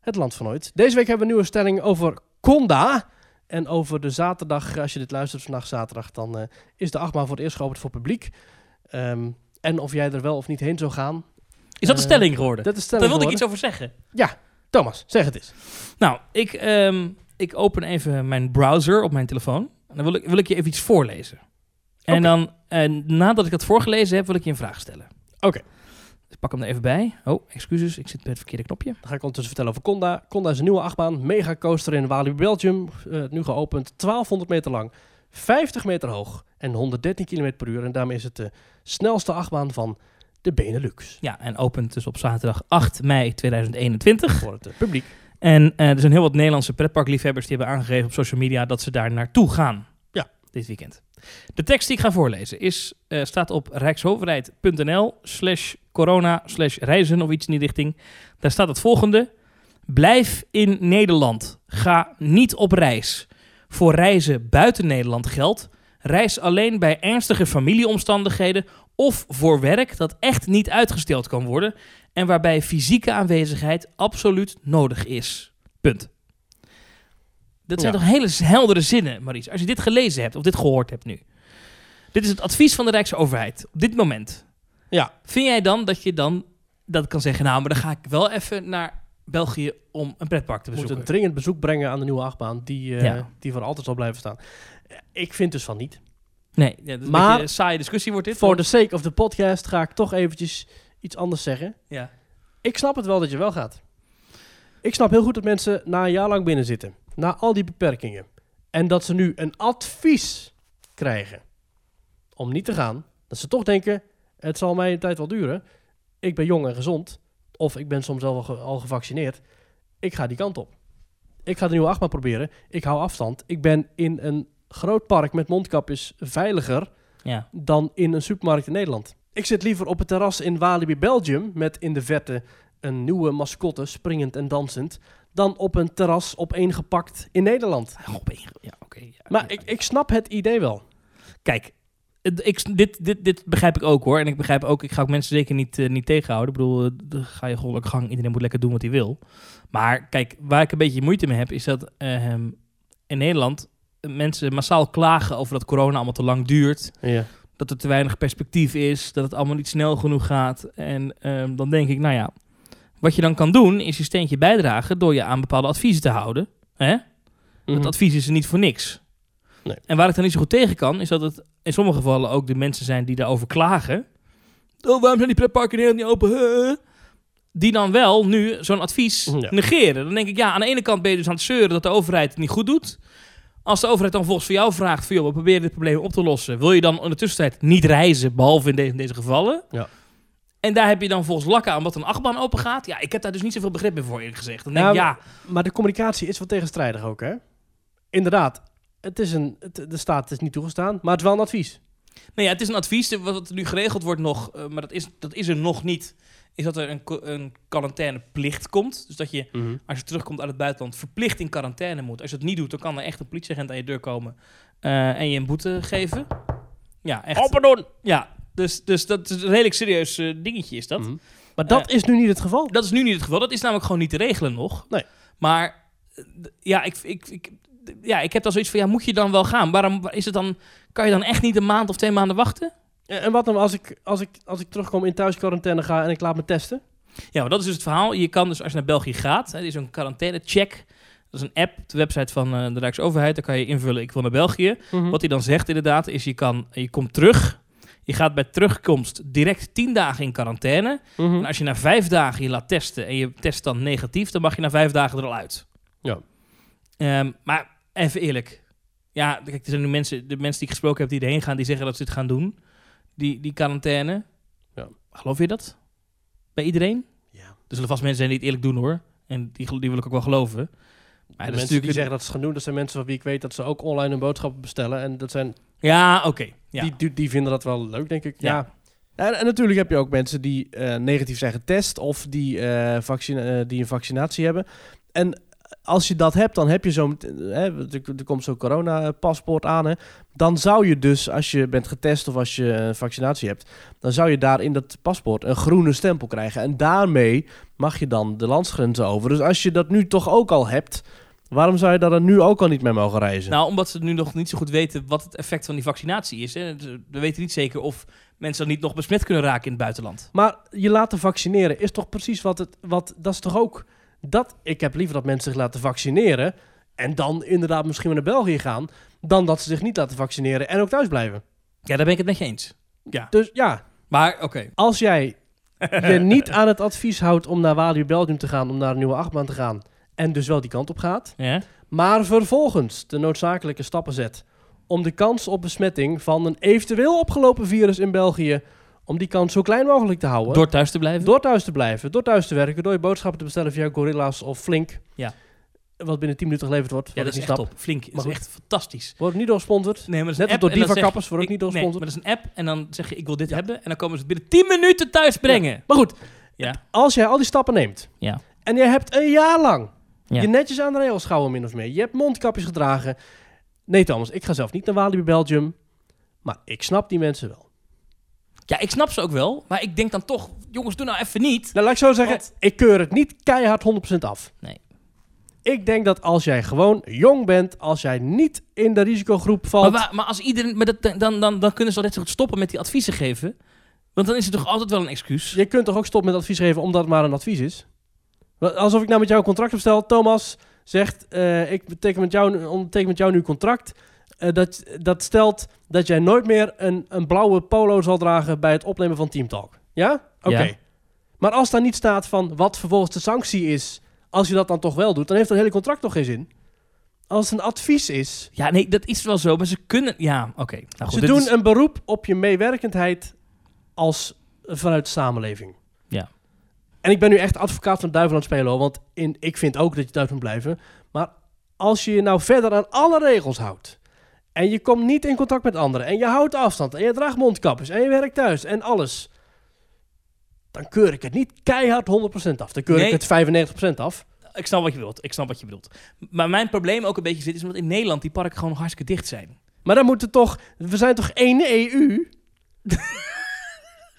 Het land van ooit. Deze week hebben we een nieuwe stelling over Conda. En over de zaterdag, eh, als je dit luistert vandaag zaterdag, dan eh, is de achtbaan voor het eerst geopend voor publiek. Ehm, en of jij er wel of niet heen zou gaan. Is dat de Eh, stelling geworden? Dat is de Daar stelling wilde ik geworden. iets over zeggen. Thomas, zeg het eens. Nou, ik, ehm, ik open even mijn browser op mijn telefoon. En dan wil ik, wil ik je even iets voorlezen. En Oké. dan, en nadat ik dat voorgelezen heb, wil ik je een vraag stellen. Oké. Dus ik pak hem er even bij. Oh, excuses, ik zit bij het verkeerde knopje. Dan ga ik ondertussen vertellen over Conda. Conda is een nieuwe achtbaan, mega coaster in Walibi Belgium. eh, nu geopend, 1200 meter lang, 50 meter hoog en 113 km per uur. En daarmee is het de snelste achtbaan van de [laughs] Benelux. Ja, en opent dus op zaterdag 8 mei 2021. Voor het eh, publiek. En eh, er zijn heel wat Nederlandse pretparkliefhebbers die hebben aangegeven op social media dat ze daar naartoe gaan. Ja. Dit weekend. De tekst die ik ga voorlezen is, eh, staat op rijkshoverheid.nl slash corona slash reizen of iets in die richting. Daar staat het volgende. Blijf in Nederland. Ga niet op reis. Voor reizen buiten Nederland geldt. Reis alleen bij ernstige familieomstandigheden of voor werk dat echt niet uitgesteld kan worden en waarbij fysieke aanwezigheid absoluut nodig is. Punt. Dat zijn Ja. toch hele heldere zinnen, Maries. Als je dit gelezen hebt of dit gehoord hebt nu. Dit is het advies van de Rijksoverheid op dit moment. Ja. Vind jij dan dat je dan dat kan zeggen? Nou, maar dan ga ik wel even naar België om een pretpark te Moet bezoeken. een dringend bezoek brengen aan de nieuwe achtbaan, die, eh, Ja. die voor altijd zal blijven staan. Eh, Ik vind dus van niet. Nee, ja, dat is Maar- een beetje een saaie discussie wordt dit. Voor want- de sake of the podcast ga ik toch eventjes iets anders zeggen. Ja. Ik snap het wel dat je wel gaat. Ik snap heel goed dat mensen na een jaar lang binnen zitten. Na al die beperkingen. En dat ze nu een advies krijgen om niet te gaan. Dat ze toch denken, het zal mij een tijd wel duren. Ik ben jong en gezond. Of ik ben soms al, ge- al gevaccineerd. Ik ga die kant op. Ik ga de nieuwe achtbaan proberen. Ik hou afstand. Ik ben in een groot park met mondkapjes veiliger ja. dan in een supermarkt in Nederland. Ik zit liever op het terras in Walibi Belgium met in de verte een nieuwe mascotte springend en dansend, dan op een terras opeengepakt in Nederland. Ja, oké, ja, oké, ja. Maar ik, ik snap het idee wel. Kijk, het- ik, dit, dit, dit begrijp ik ook hoor. En ik begrijp ook, ik ga ook mensen zeker niet, eh, niet tegenhouden. Ik bedoel, eh, dan ga je gewoon lekker gang. Iedereen moet lekker doen wat hij wil. Maar kijk, waar ik een beetje moeite mee heb, is dat eh, in Nederland eh, mensen massaal klagen over dat corona allemaal te lang duurt. Ja. Dat er te weinig perspectief is, dat het allemaal niet snel genoeg gaat. En ehm, dan denk ik, nou ja, wat je dan kan doen, is je steentje bijdragen door je aan bepaalde adviezen te houden. Hè? Het advies is er niet voor niks. Mhm. Nee. En waar ik dan niet zo goed tegen kan, is dat het in sommige gevallen ook de mensen zijn die daarover klagen. Oh, waarom zijn die pretparken in Nederland niet open? Huh? Die dan wel nu zo'n advies Ja. negeren. Dan denk ik, ja, aan de ene kant ben je dus aan het zeuren dat de overheid het niet goed doet. Als de overheid dan volgens voor jou vraagt, van, joh, we proberen dit probleem op te lossen. Wil je dan in de tussentijd niet reizen, behalve in, de- in deze gevallen? Ja. En daar heb je dan volgens lakken aan wat een achtbaan open gaat. Ja, ik heb daar dus niet zoveel begrip meer voor, eerlijk gezegd. Dan denk ik, ja, Nou, Maar de communicatie is wel tegenstrijdig ook, hè? Inderdaad, het is een, het, de staat is niet toegestaan, maar het is wel een advies. Nou ja, het is een advies eh, wat nu geregeld wordt nog, eh, maar dat is, dat is er nog niet. Is dat er een, qua- een quarantaineplicht komt. Dus dat je, als je terugkomt uit het buitenland, verplicht in quarantaine moet. Als je dat niet doet, dan kan er echt een politieagent aan je deur komen eh, en je een boete geven. Ja, echt. Oh, pardon! Ja, dus, dus dat is een redelijk serieus eh, dingetje is dat. Mhm. Maar dat is nu niet het geval. Dat is nu niet het geval. Dat is namelijk gewoon niet te regelen nog. Nee. Maar eh, d- ja, ik, ik, ik, d- ja, ik heb dan zoiets van, ja, moet je dan wel gaan? Waarom waar- is het dan, kan je dan echt niet een maand of twee maanden wachten? Ja, En wat nou als ik, als ik, als ik terugkom in thuisquarantaine ga en ik laat me testen? Ja, maar dat is dus het verhaal. Je kan dus als je naar België gaat, hè, er is een quarantaine-check. Dat is een app, de website van eh, de Rijksoverheid. Daar kan je invullen, ik wil naar België. Wat hij dan zegt inderdaad, is je, kan, je komt terug. Je gaat bij terugkomst direct 10 dagen in quarantaine. Mhm. En als je na vijf dagen je laat testen en je test dan negatief, dan mag je na vijf dagen er al uit. Ja. Ehm, maar even eerlijk. Ja, kijk, er zijn nu mensen, de mensen die ik gesproken heb die erheen gaan, die zeggen dat ze het gaan doen. Die, die quarantaine. Ja. Geloof je dat? Bij iedereen? Ja. Er zullen vast mensen zijn die het eerlijk doen hoor. En die, gel- die wil ik ook wel geloven. Maar de mensen dat is die natuurlijk... zeggen dat ze het gaan doen, dat zijn mensen van wie ik weet dat ze ook online hun boodschappen bestellen. En dat zijn, Ja, oké. Ja. die, die, die vinden dat wel leuk, denk ik. Ja. Ja. En, en natuurlijk heb je ook mensen die eh, negatief zijn getest of die, eh, vaccin eh, die een vaccinatie hebben. En als je dat hebt, dan heb je zo... meteen- Hè, er, er komt zo'n coronapaspoort aan. Hè, dan zou je dus, als je bent getest of als je een vaccinatie hebt... dan zou je daar in dat paspoort een groene stempel krijgen. En daarmee mag je dan de landsgrenzen over. Dus als je dat nu toch ook al hebt... waarom zou je daar dan nu ook al niet mee mogen reizen? Nou, omdat ze nu nog niet zo goed weten wat het effect van die vaccinatie is. Hè. Ze- We weten niet zeker of mensen dan niet nog besmet kunnen raken in het buitenland. Maar je laten vaccineren is toch precies wat het. Wat, dat is toch ook. Dat, ik heb liever dat mensen zich laten vaccineren. En dan inderdaad misschien weer naar België gaan. Dan dat ze zich niet laten vaccineren en ook thuis blijven. Ja, daar ben ik het met je eens. Dus ja, Maar oké. als jij je niet aan het advies houdt om naar Walibi Belgium te gaan. Om naar een nieuwe achtbaan te gaan. En dus wel die kant op gaat. Ja. Maar vervolgens de noodzakelijke stappen zet om de kans op besmetting van een eventueel opgelopen virus in België, om die kans zo klein mogelijk te houden. Door thuis te blijven. Door thuis te blijven, door thuis te werken, door je boodschappen te bestellen via Gorilla's of Flink. Ja. Wat binnen 10 minuten geleverd wordt. ja, wat dat is ik echt niet snap. top. Flink. Dat Maar is goed. echt fantastisch. Wordt niet doorgesponsord. Nee, maar dat is Net als een app door en dan Diva zeg- Kappers wordt ook ik- niet nee, doorgesponsord. maar dat is een app en dan zeg je ik wil dit hebben. En dan komen ze het binnen 10 minuten thuis brengen. Maar goed, Ja. als jij al die stappen neemt. Ja. En jij hebt een jaar lang Ja. je netjes aan de rails gehouden min of meer. Je hebt mondkapjes gedragen. Nee Thomas, ik ga zelf niet naar Walibi Belgium. Maar ik snap die mensen wel. Ja, ik snap ze ook wel. Maar ik denk dan toch, jongens, doe nou even niet. Nou, laat ik zo zeggen, Want- ik keur het niet keihard 100% af. Nee. Ik denk dat als jij gewoon jong bent, als jij niet in de risicogroep valt... Maar, waar- maar als iedereen, maar dat, dan, dan, dan kunnen ze al net zo goed stoppen met die adviezen geven. Want dan is het toch altijd wel een excuus. Je kunt toch ook stoppen met advies geven omdat het maar een advies is? Wa- Alsof ik nou met jou een contract opstel. Thomas zegt, eh, ik teken met jou, onderteken met jou nu een contract. eh, dat, dat stelt dat jij nooit meer een, een blauwe polo zal dragen bij het opnemen van Team Talk. Ja? Oké. Ja. Maar als daar niet staat van wat vervolgens de sanctie is, als je dat dan toch wel doet, dan heeft dat hele contract toch geen zin. Als het een advies is, Ja, nee, dat is wel zo. Maar ze kunnen. Ja, oké. Nou, goed, ze dit doen is- een beroep op je meewerkendheid als eh, vanuit de samenleving. Ja. En ik ben nu echt advocaat van de duivel aan het spelen, hoor, want in, ik vind ook dat je thuis moet blijven. Maar als je je nou verder aan alle regels houdt en je komt niet in contact met anderen en je houdt afstand en je draagt mondkapjes en je werkt thuis en alles, dan keur ik het niet keihard 100% af. Dan keur Nee. ik het 95% af. Ik snap wat je bedoelt. Ik snap wat je bedoelt. Maar mijn probleem ook een beetje zit is omdat in Nederland die parken gewoon nog hartstikke dicht zijn. Maar dan moeten toch... We zijn toch één [laughs] EU?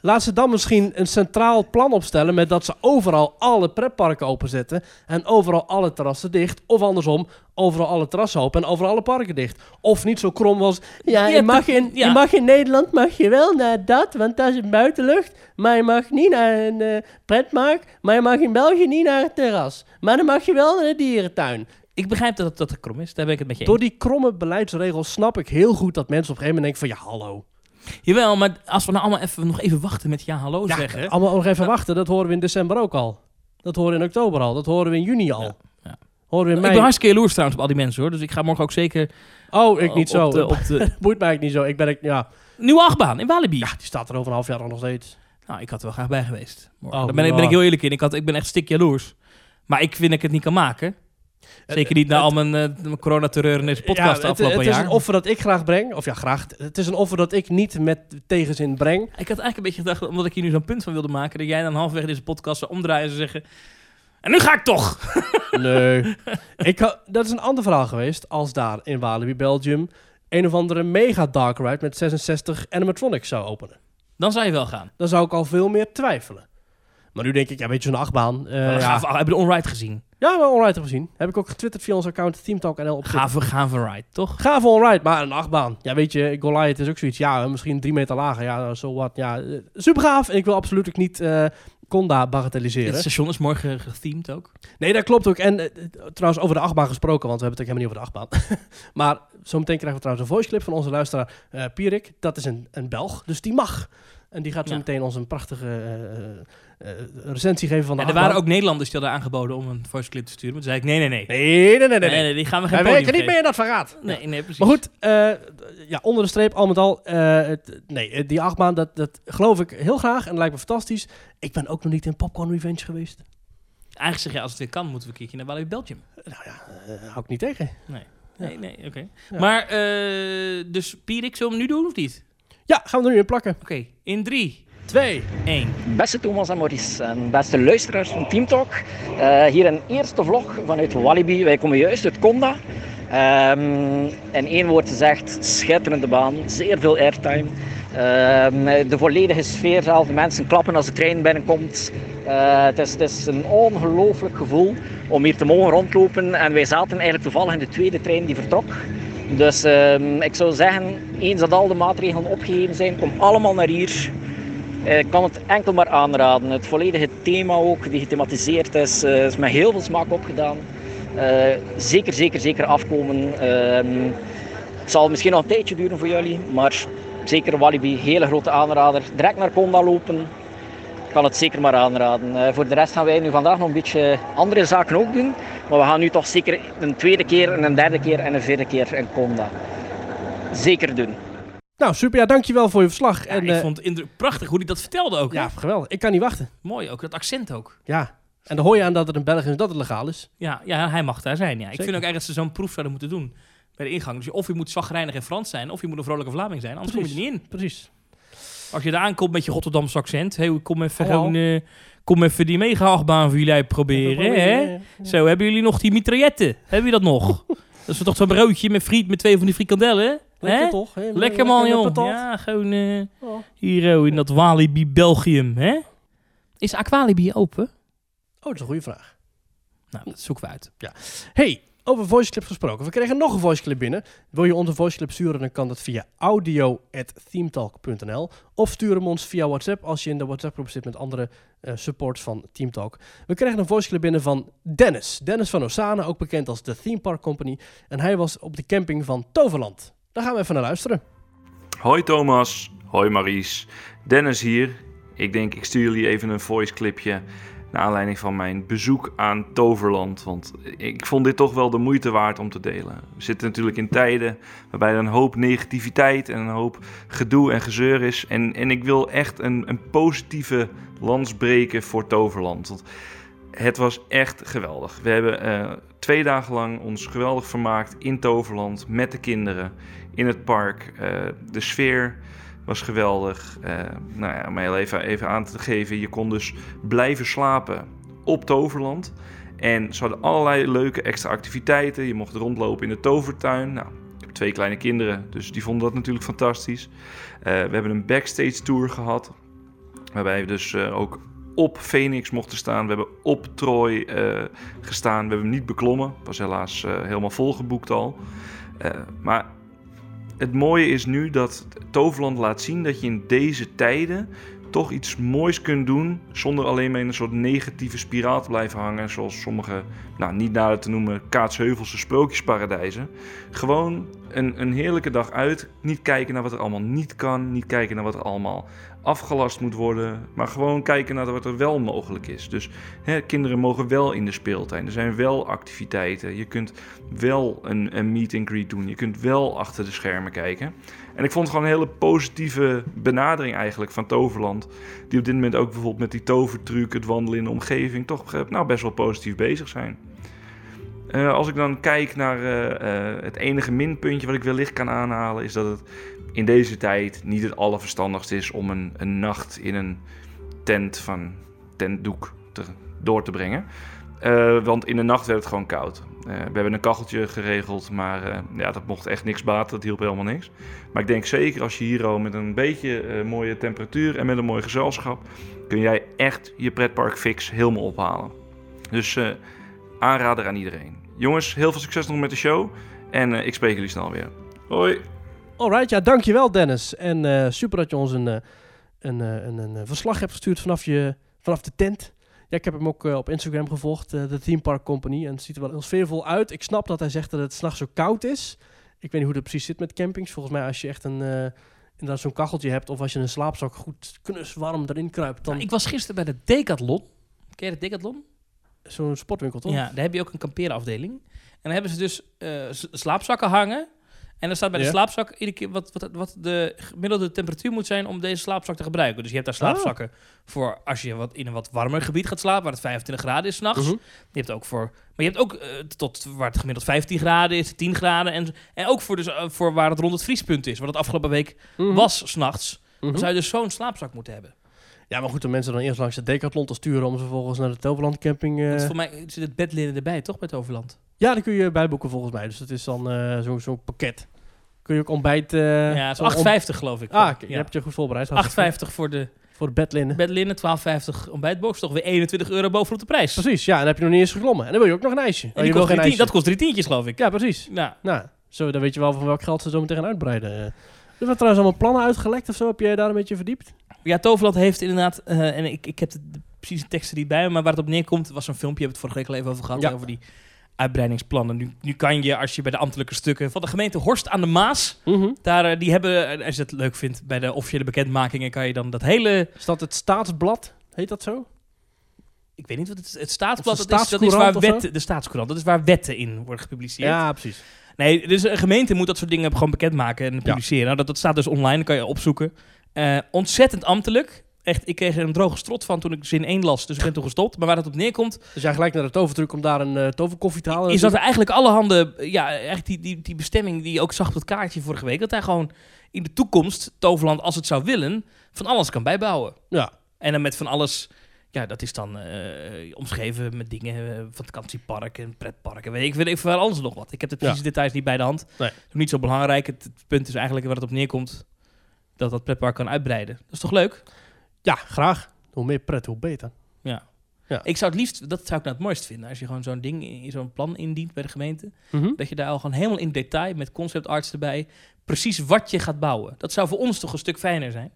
Laat ze dan misschien een centraal plan opstellen... met dat ze overal alle pretparken openzetten... en overal alle terrassen dicht. Of andersom, overal alle terrassen open en overal alle parken dicht. Of niet zo krom als... Ja, Ja, je mag dat- in, ja. je mag in Nederland mag je wel naar dat... want dat is buitenlucht. Maar je mag niet naar een eh, pretpark... maar je mag in België niet naar het terras. Maar dan mag je wel naar de dierentuin. Ik begrijp dat dat, dat er krom is. Daar ben ik het met je Door die kromme beleidsregels snap ik heel goed dat mensen op een gegeven moment denken van ja, hallo. eens. Jawel, maar als we nou allemaal even, nog even wachten met ja hallo zeggen. Allemaal nog even wachten, dat horen we in december ook al. Dat horen we in oktober al, dat horen we in juni al. Ja, ja. Horen we in Ik mei. ben hartstikke jaloers trouwens op al die mensen hoor. Dus ik ga morgen ook zeker Oh, ik niet op, zo. de, eh, op de [laughs] Boeit mij eigenlijk niet zo. Ik ben, ik, ja, nieuwe achtbaan in Walibi. die staat er over een half jaar nog steeds. Nou, ik had er wel graag bij geweest. morgen. Oh, Daar ben ik, ben ja. ik heel eerlijk in. Ik, had, ik ben echt stik jaloers. Maar ik vind dat ik het niet kan maken. Zeker niet na het- al mijn, eh, mijn coronaterreur in deze podcast het, de afgelopen het jaar. is een offer dat ik graag breng. Of ja, graag. Het is een offer dat ik niet met tegenzin breng. Ik had eigenlijk een beetje gedacht, omdat ik hier nu zo'n punt van wilde maken, dat jij dan halverwege deze podcast zou omdraaien en zeggen. En nu ga ik toch! [laughs] Nee. ik ha- dat is een ander verhaal geweest als daar in Walibi, Belgium... een of andere mega dark ride met 66 animatronics zou openen. Dan zou je wel gaan. dan zou ik al veel meer twijfelen. Maar nu denk ik, ja, weet je, zo'n achtbaan. eh, ja. ja. gaaf, heb je de onride gezien? ja, wel onride heb gezien. Heb ik ook getwitterd via ons account TeamTalkNL op Twitter. Gave, gave ride, toch? Gaaf onride, maar een achtbaan. Ja, weet je, Goliath is ook zoiets. Ja, misschien drie meter lager. Ja, nou, zo wat. Ja, super gaaf. Ik wil absoluut ook niet eh Conda bagatelliseren. Het station is morgen gethemed ook. Nee, dat klopt ook. En eh, eh, trouwens, over de achtbaan gesproken, want we hebben het ook helemaal niet over de achtbaan. [laughs] maar zometeen krijgen we trouwens een voiceclip van onze luisteraar eh, Pierik. Dat is een, een Belg, dus die mag. En die gaat zo Ja. meteen ons een prachtige eh, eh, eh, recensie geven van de en er achtbaan. waren ook Nederlanders die hadden aangeboden om een voice clip te sturen. Maar toen zei ik: nee, nee, nee. Nee, nee, nee, nee. Nee, nee, nee, die gaan we geen Wij podium werken niet geven. meer in dat verraad. Nee, nee, precies. Maar goed, eh, ja, onder de streep al met al. eh, het- nee, eh, die achtbaan, dat, dat geloof ik heel graag en lijkt me fantastisch. Ik ben ook nog niet in Popcorn Revenge geweest. Eigenlijk zeg je, als het weer kan, moeten we een keertje naar Walibi Belgium. Nou ja, eh, hou ik niet tegen. Nee, nee, oké. Ja. Maar, eh, dus Pierik, zullen we hem nu doen of niet? Ja, gaan we er nu in plakken. Oké, in drie, 2. 1. Beste Thomas en Maurice en beste luisteraars van Team Talk. Eh, hier een eerste vlog vanuit Walibi. Wij komen juist uit Conda. Ehm, in één woord gezegd, schitterende baan, zeer veel airtime. Ehm, de volledige sfeer zelf, de mensen klappen als de trein binnenkomt. Eh, het, is, het is een ongelooflijk gevoel om hier te mogen rondlopen. En wij zaten eigenlijk toevallig in de tweede trein die vertrok. Dus ehm, ik zou zeggen, eens dat al de maatregelen opgegeven zijn, kom allemaal naar hier. Eh, Ik kan het enkel maar aanraden. Het volledige thema ook, die gethematiseerd is, eh, is met heel veel smaak opgedaan. Eh, zeker, zeker, zeker afkomen. Ehm, het zal misschien nog een tijdje duren voor jullie, maar zeker Walibi, hele grote aanrader. Direct naar Conda lopen, ik kan het zeker maar aanraden. Eh, voor de rest gaan wij nu vandaag nog een beetje andere zaken ook doen. Maar we gaan nu toch zeker een tweede keer, en een derde keer en een vierde keer in Conda. Zeker doen. Nou, super. Ja, dankjewel voor je verslag. Ja, en, ik eh, vond het indru- prachtig hoe hij dat vertelde ook. hè? ja, geweldig. Ik kan niet wachten. Mooi ook, dat accent ook. Ja. En dan hoor je aan dat het een België is dat het legaal is. Ja, ja hij mag daar zijn. Ja. Ik Zeker. vind ook eigenlijk dat ze zo'n proef zouden moeten doen bij de ingang. Dus je- of je moet zagrijnig en Frans zijn, of je moet een vrolijke Vlaming zijn. Anders kom je er niet in. Precies. Als je daar aankomt met je Rotterdamse accent. Hey, kom even, Hallo. gewoon, eh, kom even die mega-achtbaan voor jullie proberen. Hè? Zo, hebben jullie nog die mitrailletten? Hebben jullie dat [laughs] nog? dat is toch zo'n broodje met friet met twee van die frikandellen? Lekker hè? toch? Hè? Lekker man, met joh. patat. Ja, gewoon eh, Oh. hier oh, in dat Walibi Belgium, hè? Is Aqualibi open? Oh, dat is een goede vraag. Nou, dat zoeken we uit. Hey, over voiceclips gesproken. We kregen nog een voiceclip binnen. Wil je onze voiceclip sturen, dan kan dat via audio.themetalk.nl of stuur hem ons via WhatsApp als je in de WhatsApp-groep zit met andere eh, supports van Team Talk. We kregen een voiceclip binnen van Dennis. Dennis van Osana, ook bekend als de Theme Park Company. En hij was op de camping van Toverland. Daar gaan we even naar luisteren. Hoi Thomas, hoi Maries. Dennis hier. Ik denk ik stuur jullie even een voice clipje naar aanleiding van mijn bezoek aan Toverland, want ik vond dit toch wel de moeite waard om te delen. We zitten natuurlijk in tijden waarbij er een hoop negativiteit en een hoop gedoe en gezeur is en, en ik wil echt een, een positieve lans breken voor Toverland. Want het was echt geweldig. We hebben eh, twee dagen lang ons geweldig vermaakt in Toverland met de kinderen in het park. Eh, de sfeer was geweldig. Eh, nou ja, om heel even, even aan te geven, je kon dus blijven slapen op Toverland. En ze hadden allerlei leuke extra activiteiten. Je mocht rondlopen in de tovertuin. Nou, ik heb twee kleine kinderen, dus die vonden dat natuurlijk fantastisch. Eh, we hebben een backstage tour gehad. Waarbij we dus eh, ook op Phoenix mochten staan. We hebben op Troy eh, gestaan. We hebben hem niet beklommen. Was helaas eh, helemaal volgeboekt al. Eh, maar het mooie is nu dat Toverland laat zien dat je in deze tijden toch iets moois kunt doen zonder alleen maar in een soort negatieve spiraal te blijven hangen, zoals sommige, nou niet nader te noemen, Kaatsheuvelse sprookjesparadijzen. Gewoon een, een heerlijke dag uit, niet kijken naar wat er allemaal niet kan, niet kijken naar wat er allemaal afgelast moet worden, maar gewoon kijken naar wat er wel mogelijk is. Dus hè, kinderen mogen wel in de speeltuin, er zijn wel activiteiten, je kunt wel een, een meet and greet doen. Je kunt wel achter de schermen kijken. En ik vond het gewoon een hele positieve benadering eigenlijk van Toverland. Die op dit moment ook bijvoorbeeld met die tovertruc, het wandelen in de omgeving, toch eh, nou, best wel positief bezig zijn. Eh, als ik dan kijk naar eh, eh, het enige minpuntje wat ik wellicht kan aanhalen, is dat het in deze tijd niet het allerverstandigst is om een, een nacht in een tent van tentdoek te, door te brengen. Eh, want in de nacht werd het gewoon koud. Eh, we hebben een kacheltje geregeld, maar eh, ja, dat mocht echt niks baten. Dat hielp helemaal niks. Maar ik denk zeker als je hier al met een beetje eh, mooie temperatuur en met een mooi gezelschap... kun jij echt je pretpark fix helemaal ophalen. Dus eh, aanrader aan iedereen. Jongens, heel veel succes nog met de show. En eh, ik spreek jullie snel weer. Hoi! Alright, ja, dankjewel Dennis. En eh, super dat je ons een, eh, een, eh, een, een, eh, verslag hebt gestuurd vanaf, je, vanaf de tent. Ja, ik heb hem ook eh, op Instagram gevolgd, eh, de Theme Park Company. En het ziet er wel heel sfeervol uit. Ik snap dat hij zegt dat het s'nachts zo koud is. Ik weet niet hoe dat precies zit met campings. Volgens mij als je echt een, eh, inderdaad zo'n kacheltje hebt... of als je een slaapzak goed knuswarm erin kruipt... dan Nou, ik was gisteren bij de Decathlon. Ken je de Decathlon? zo'n sportwinkel, toch? Ja, daar heb je ook een kampeerafdeling. En dan hebben ze dus eh, s- slaapzakken hangen. En dan staat bij de Ja. slaapzak iedere keer wat, wat, wat de gemiddelde temperatuur moet zijn om deze slaapzak te gebruiken. Dus je hebt daar Oh. slaapzakken voor als je wat in een wat warmer gebied gaat slapen, waar het 25 graden is s'nachts. Mhm. Je hebt ook voor, maar je hebt ook eh, tot waar het gemiddeld 15 graden is, 10 graden. En, en ook voor, dus, eh, voor waar het rond het vriespunt is, wat het afgelopen week Mhm. was s'nachts. Mhm. Eh. Dan zou je dus zo'n slaapzak moeten hebben. Ja, maar goed, om mensen dan eerst langs de Decathlon te sturen om ze vervolgens naar de Toverland camping... eh, Want voor mij zit het bedlinnen erbij, toch, bij het Overland? Ja, dan kun je bijboeken volgens mij. Dus dat is dan eh, zo- zo'n pakket. Kun je ook ontbijt... eh, ja, het zo'n ont- is 8,50 geloof ik. Ah, oké, je ja. hebt je goed voorbereid. 8,50 voor de Voor het bedlinnen. bedlinnen, 12,50 ontbijtbox. Toch weer 21 euro bovenop de prijs. Precies, ja. En dan heb je nog niet eens geklommen. En dan wil je ook nog een ijsje. En Oh, die je kost wil drie geen tien- ijsje. dat kost 3 tientjes, geloof ik. Ja, precies. Nou, Nou, zo, dan weet je wel van welk geld ze zo meteen gaan uitbreiden. eh. Er werden trouwens allemaal plannen uitgelekt of zo. Heb jij je daar een beetje verdiept? ja, Toverland heeft inderdaad, eh, en ik, ik heb de, de precieze teksten niet bij me, maar waar het op neerkomt, was een filmpje, hebben we het vorige week al even over gehad, Ja. over die uitbreidingsplannen. Nu, nu kan je, als je bij de ambtelijke stukken van de gemeente Horst aan de Maas, daar, eh, die hebben, eh, als je het leuk vindt, bij de officiële bekendmakingen kan je dan dat hele, Is dat het staatsblad? Heet dat zo? ik weet niet wat het is, het staatsblad, Of de dat is, dat is waar staatscourant of zo? wetten, de staatscourant, dat is waar wetten in worden gepubliceerd. Ja, precies. Nee, dus een gemeente moet dat soort dingen gewoon bekendmaken en publiceren. Nou, dat, dat staat dus online, kan je opzoeken. Eh, ontzettend ambtelijk. Echt, ik kreeg er een droge strot van toen ik zin 1 las, dus ik ben toen gestopt. Maar waar dat op neerkomt, Dus jij gelijk naar de tovertruc om daar een eh, toverkoffie te halen. is Oh, dat er eigenlijk alle handen... Ja, eigenlijk die, die, die bestemming die je ook zag op het kaartje vorige week... dat hij gewoon in de toekomst, Toverland, als het zou willen, van alles kan bijbouwen. Ja. En dan met van alles... Ja, dat is dan eh, omschreven met dingen eh, van vakantieparken en pretparken. Weet ik, weet ik van alles nog wat. Ik heb de precieze details niet bij de hand. Nee. Dat is niet zo belangrijk. Het, het punt is eigenlijk waar het op neerkomt... dat dat pretpark kan uitbreiden. Dat is toch leuk? Ja, graag. Hoe meer pret, hoe beter. Ik zou het liefst... Dat zou ik nou het mooist vinden. Als je gewoon zo'n ding, in- zo'n plan indient bij de gemeente... dat je daar al gewoon helemaal in detail... met conceptarts erbij... precies wat je gaat bouwen. Dat zou voor ons toch een stuk fijner zijn.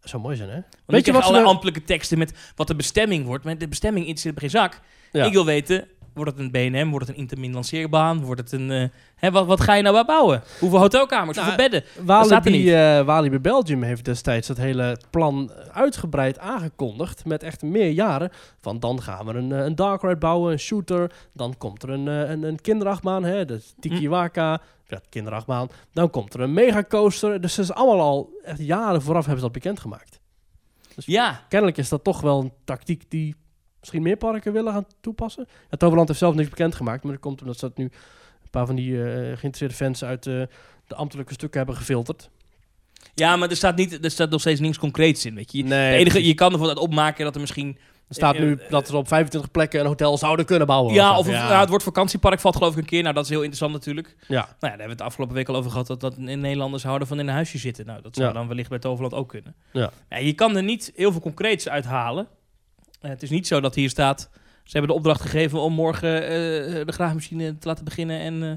Dat zou mooi zijn, hè? Want Weet je wat alle nou- ambtelijke teksten met wat de bestemming wordt. Maar de bestemming in zit op geen zak. Ja. Ik wil weten, wordt het een BNM? Wordt het een intermin lanceerbaan? Wordt het een... eh, hè, wat, wat ga je nou waar bouwen? Hoeveel hotelkamers? Nou, hoeveel bedden? staat er niet. Walibi, eh Walibi Belgium heeft destijds dat hele plan uitgebreid aangekondigd. Met echt meer jaren. Van dan gaan we een, eh, een dark ride bouwen, een shooter. Dan komt er een, eh, een, een kinderachtbaan, hè, de Tiki Waka. Ja, kinderachtbaan. Dan komt er een megacoaster. Dus dat is allemaal al echt jaren vooraf hebben ze dat bekendgemaakt. Ja, Kennelijk is dat toch wel een tactiek die misschien meer parken willen gaan toepassen. Ja, Toverland heeft zelf niks bekendgemaakt. Maar dat komt omdat ze dat nu een paar van die eh, geïnteresseerde fans uit eh, de ambtelijke stukken hebben gefilterd. ja, maar er staat, niet, er staat nog steeds niks concreets in. Weet je. Je- Nee, de enige, precies. je kan ervan uit opmaken dat er misschien... Er staat nu dat we op 25 plekken een hotel zouden kunnen bouwen. ja, of ja. nou, het woord vakantiepark valt geloof ik een keer. Nou, dat is heel interessant natuurlijk. Nou ja. ja, daar hebben we het de afgelopen week al over gehad. Dat, dat Nederlanders houden van in een huisje zitten. Nou, dat zou Ja. dan wellicht bij Toverland ook kunnen. Ja. Ja, je kan er niet heel veel concreets uithalen. Eh, het is niet zo dat hier staat... ze hebben de opdracht gegeven om morgen eh, de graafmachine te laten beginnen en eh,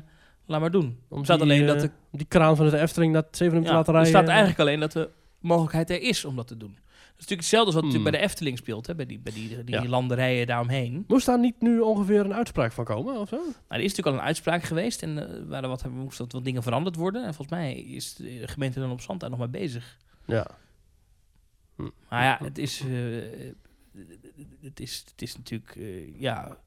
laat maar doen. Om Er staat die, alleen eh, dat de, om die kraan van het Efteling naar het Zevenum te ja, laten er rijden. staat eigenlijk alleen dat de mogelijkheid er is om dat te doen. Dat is natuurlijk hetzelfde als wat Hmm. natuurlijk bij de Efteling speelt, hè? bij die, bij die, die Ja. landerijen daaromheen. Moest daar niet nu ongeveer een uitspraak van komen of zo? Maar er is natuurlijk al een uitspraak geweest en eh, waren wat, moest dat wat dingen veranderd worden. En volgens mij is de gemeente dan op zand daar nog mee bezig. Ja. Maar Nou ja, het is, eh, het is, het is natuurlijk eh, ja,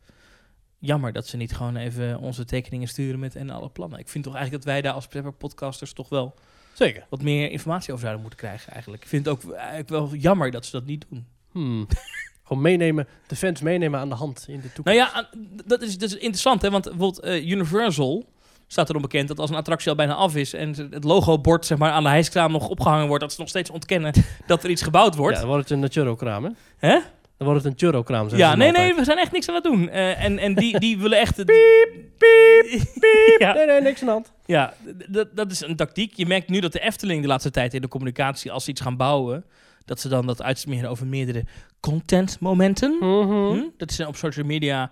jammer dat ze niet gewoon even onze tekeningen sturen met en alle plannen. Ik vind toch eigenlijk dat wij daar als prepper podcasters toch wel Zeker. wat meer informatie over zouden moeten krijgen eigenlijk. Ik vind het ook eigenlijk wel jammer dat ze dat niet doen. Hmm. [laughs] Gewoon meenemen, de fans meenemen aan de hand in de toekomst. Nou ja, aan- dat is, dat is interessant hè, want bijvoorbeeld eh, Universal staat erom bekend dat als een attractie al bijna af is en ze- het logobord zeg maar aan de hijskraam nog opgehangen wordt, dat ze nog steeds ontkennen [laughs] dat er iets gebouwd wordt. Ja, dan wordt het een eh, churro-kraam, hè? Hè? Dan wordt het een churro-kraam, zeggen Ja, ze nee, dan nee, altijd. we zijn echt niks aan het doen. Eh, en en die, die willen echt... Piep, piep, piep. [laughs] ja, Nee, nee, niks aan de hand. ja d- dat- dat is een tactiek. Je merkt nu dat de Efteling de laatste tijd in de communicatie, als ze iets gaan bouwen, dat ze dan dat uitsmeren over meerdere contentmomenten. Mhm. Hm? Dat ze op social media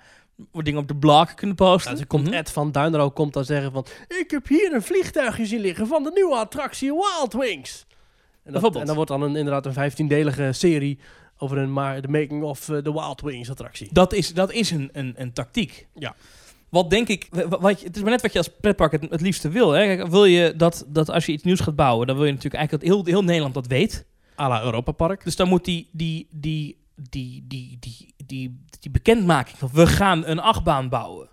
wat dingen op de blog kunnen posten. Ja, Nou, ze komt Mhm. Ed van Duinro komt dan zeggen van... Ik heb hier een vliegtuigje zien liggen van de nieuwe attractie Wild Wings. En, dat, Bijvoorbeeld. en dan wordt dan een, inderdaad een 15-delige serie over een, maar, de making of eh, de Wild Wings attractie. Dat is, dat is een, een, een tactiek. Ja. Wat denk ik, wa- wa- wat, je- het is maar net wat je als pretpark het, het liefste wil. Hè? Kijk, wil je dat, dat als je iets nieuws gaat bouwen, dan wil je natuurlijk eigenlijk dat heel, heel Nederland dat weet. A la Europa Park. Dus dan moet die, die, die, die, die, die, die, die bekendmaking van we gaan een achtbaan bouwen.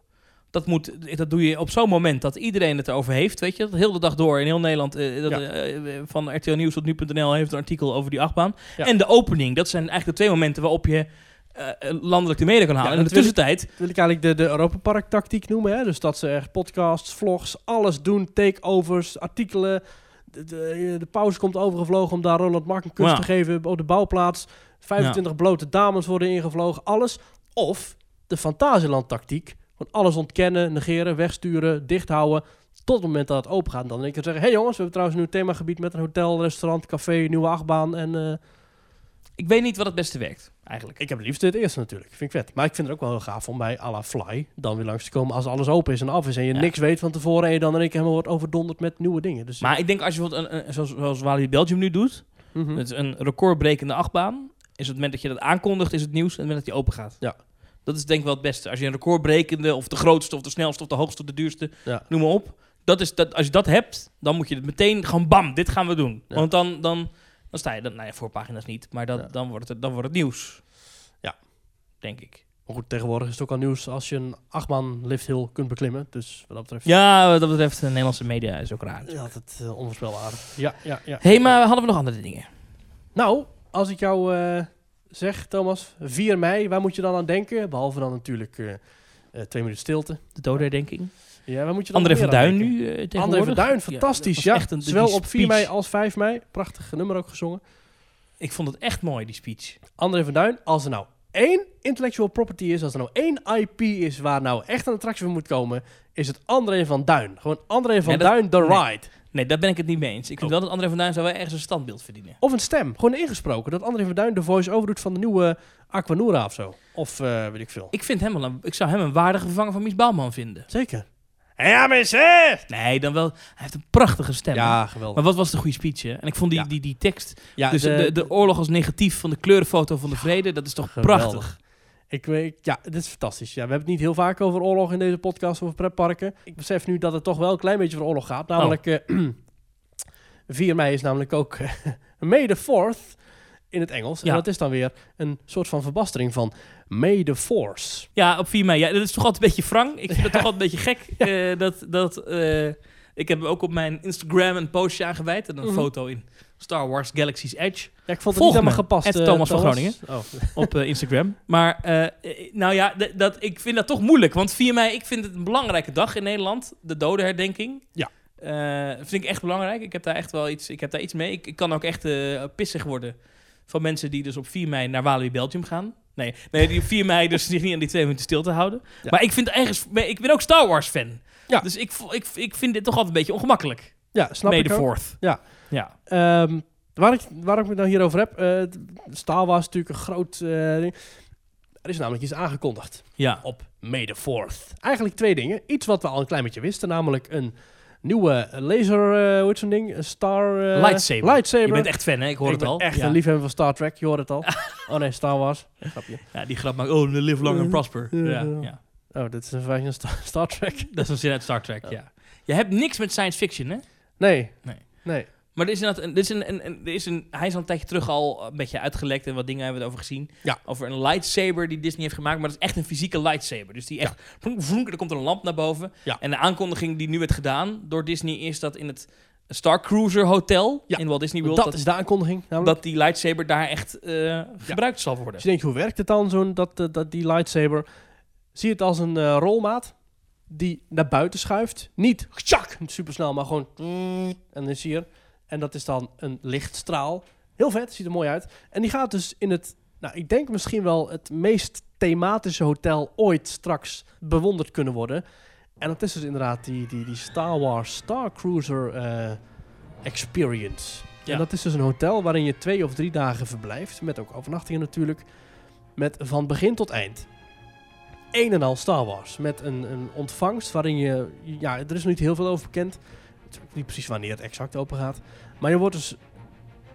Dat, moet, dat doe je op zo'n moment dat iedereen het erover heeft. Weet je, dat heel de dag door in heel Nederland. eh, dat, Ja. eh, eh, van RTL Nieuws tot nu.nl heeft een artikel over die achtbaan. Ja. En de opening. Dat zijn eigenlijk de twee momenten waarop je eh, eh, landelijk de mede kan halen. Ja, en in de natuurlijk. tussentijd wil ik eigenlijk de, de Europa Park tactiek noemen. Hè? Dus dat ze echt podcasts, vlogs, alles doen. Takeovers, artikelen. De, de, de pauze komt overgevlogen om daar Ronald Mark een kus Ja. te geven op de bouwplaats. 25 blote dames worden ingevlogen, alles. Of de Fantasieland-tactiek. Van alles ontkennen, negeren, wegsturen, dichthouden. Tot het moment dat het open gaat. En dan in keer zeggen, hé hey jongens, we hebben trouwens een nieuw themagebied met een hotel, restaurant, café, nieuwe achtbaan. En eh, Ik weet niet wat het beste werkt, eigenlijk. ik heb het liefst het eerste natuurlijk. Vind ik vet. Maar ik vind het ook wel heel gaaf om bij à la Fly dan weer langs te komen als alles open is en af is. En je Ja. niks weet van tevoren en je dan in één keer helemaal wordt overdonderd met nieuwe dingen. Dus, Maar ik denk als je bijvoorbeeld, een, een- zoals, zoals Walibi Belgium nu doet, Mhm. met een recordbrekende achtbaan, is op het moment dat je dat aankondigt, is het nieuws en het moment dat die open gaat. Ja. Dat is denk ik wel het beste. Als je een recordbrekende, of de grootste, of de snelste, of de hoogste, of de duurste, Ja. noem maar op. Dat is, dat, als je dat hebt, dan moet je het meteen gewoon bam, dit gaan we doen. Ja. Want dan, dan, dan sta je, dan, nou ja, voorpagina's niet, maar dat, Ja. dan, wordt het, dan wordt het nieuws. Ja. Denk ik. Maar goed, tegenwoordig is het ook al nieuws als je een achtbaan lift hill kunt beklimmen. Dus wat dat betreft Ja, wat dat betreft, de Nederlandse media is ook raar. is altijd eh, onvoorspelbaar. Ja, ja, ja. Hé, hey, maar hadden we nog andere dingen? Nou, als ik jou eh, zeg, Thomas, 4 mei, waar moet je dan aan denken? Behalve dan natuurlijk eh, eh, twee minuten stilte. De dodenherdenking. Ja, waar moet je dan André nog van meer aan Duin denken? nu eh, tegenwoordig. André van Duin, Ja, fantastisch. dat Ja, was echt een- Zowel die op 4 mei speech. als 5 mei. Prachtig nummer ook gezongen. Ik vond het echt mooi, die speech. André van Duin, als er nou één intellectual property is, als er nou één IP is waar nou echt een attractie voor moet komen, is het André van Duin. Gewoon André van Nee, dat- Duin, The nee. Ride. Nee, daar ben ik het niet mee eens. Ik vind Oh. wel dat André van Duin zou wel ergens een standbeeld verdienen. Of een stem, gewoon ingesproken. Dat André van Duin de voice-over doet van de nieuwe Aquanura of zo. Of eh, weet ik veel. Ik, vind hem wel een, ik zou hem een waardige vervanger van Mies Bouwman vinden. Zeker. Ja, mensen! Nee, dan wel. Hij heeft een prachtige stem. hè? Ja, geweldig. Maar wat was de goede speech, hè? En ik vond die, Ja. die, die tekst... ja, dus de, de, oorlog als negatief van de kleurenfoto van de vrede, dat is toch Geweldig. prachtig. Ik weet, ja, dit is fantastisch. Ja, we hebben het niet heel vaak over oorlog in deze podcast, over pretparken. Ik besef nu dat het toch wel een klein beetje over oorlog gaat. Oh. Namelijk, eh, [clears throat] 4 mei is namelijk ook eh, [laughs] May the 4th in het Engels. Ja. En dat is dan weer een soort van verbastering van May the Force. Ja, op 4 mei. Ja, dat is toch altijd een beetje frank. Ik vind het toch altijd een beetje gek. eh, dat, dat, eh, ik heb ook op mijn Instagram een postje aangeweid. En een Mhm. foto in Star Wars Galaxy's Edge. Ja, ik vond het Volg niet helemaal me, gepast. at eh, Thomas van Groningen. Oh. [laughs] op eh, Instagram. Maar eh, eh, nou ja, d- dat, ik vind dat toch moeilijk. Want 4 mei, ik vind het een belangrijke dag in Nederland. De dodenherdenking. Ja. Eh, vind ik echt belangrijk. Ik heb daar echt wel iets, ik heb daar iets mee. Ik, ik kan ook echt eh, pissig worden van mensen die dus op 4 mei naar Walibi Belgium gaan. Nee, nee, die op 4 mei dus [laughs] zich niet aan die twee minuten stil te houden. Ja. Maar ik vind ergens... Ik ben ook Star Wars fan. Ja. Dus ik, vo- ik, ik vind dit toch altijd een beetje ongemakkelijk. Ja, snap May ik the ook. fourth. Ja. Ja. Ehm, waar, ik, waar ik het nou hierover heb, eh Star Wars is natuurlijk een groot eh, ding. Er is namelijk iets aangekondigd. Ja. op May the 4th. Eigenlijk twee dingen. Iets wat we al een klein beetje wisten, namelijk een nieuwe laser, eh, hoe heet zo'n ding? Een star... eh, Lightsaber. lightsaber. Je bent echt fan, hè? Ik hoor Ik het ben al. echt ja. een liefhebber van Star Trek, je hoort het [laughs] al. oh nee, Star Wars. Grapje. Ja, die grap maakt... Oh, live long and prosper. Ja, Ja, ja. ja. Oh, dit is een verwijzing naar Star, Star Trek. Dat is een zin uit Star Trek, ja. Je hebt niks met science fiction, hè? Nee. Nee. Nee. Maar er is inderdaad een, er is een, een, een- er is een, hij is al een tijdje terug al een beetje uitgelekt en wat dingen hebben we het over gezien. Ja. Over een lightsaber die Disney heeft gemaakt, maar dat is echt een fysieke lightsaber. Dus die echt, vroenk, vroenk, er komt een lamp naar boven. Ja. En de aankondiging die nu werd gedaan door Disney is dat in het Star Cruiser Hotel Ja. in Walt Disney World, Dat, dat, is de aankondiging. Namelijk. dat die lightsaber daar echt eh, gebruikt zal worden. Dus je denkt, hoe werkt het dan, zo'n, dat, eh, dat, die lightsaber? Zie het als een eh, rolmaat die naar buiten schuift. Niet tjak, supersnel, maar gewoon... En dan zie je er. En dat is dan een lichtstraal. Heel vet, ziet er mooi uit. En die gaat dus in het, nou ik denk misschien wel het meest thematische hotel ooit straks bewonderd kunnen worden. En dat is dus inderdaad die, die, die Star Wars Star Cruiser eh, Experience. Ja. En dat is dus een hotel waarin je twee of drie dagen verblijft. Met ook overnachtingen natuurlijk. Met van begin tot eind. Een en al Star Wars. Met een, een ontvangst waarin je... Ja, er is nog niet heel veel over bekend. Het is ook niet precies wanneer het exact open gaat. Maar je wordt dus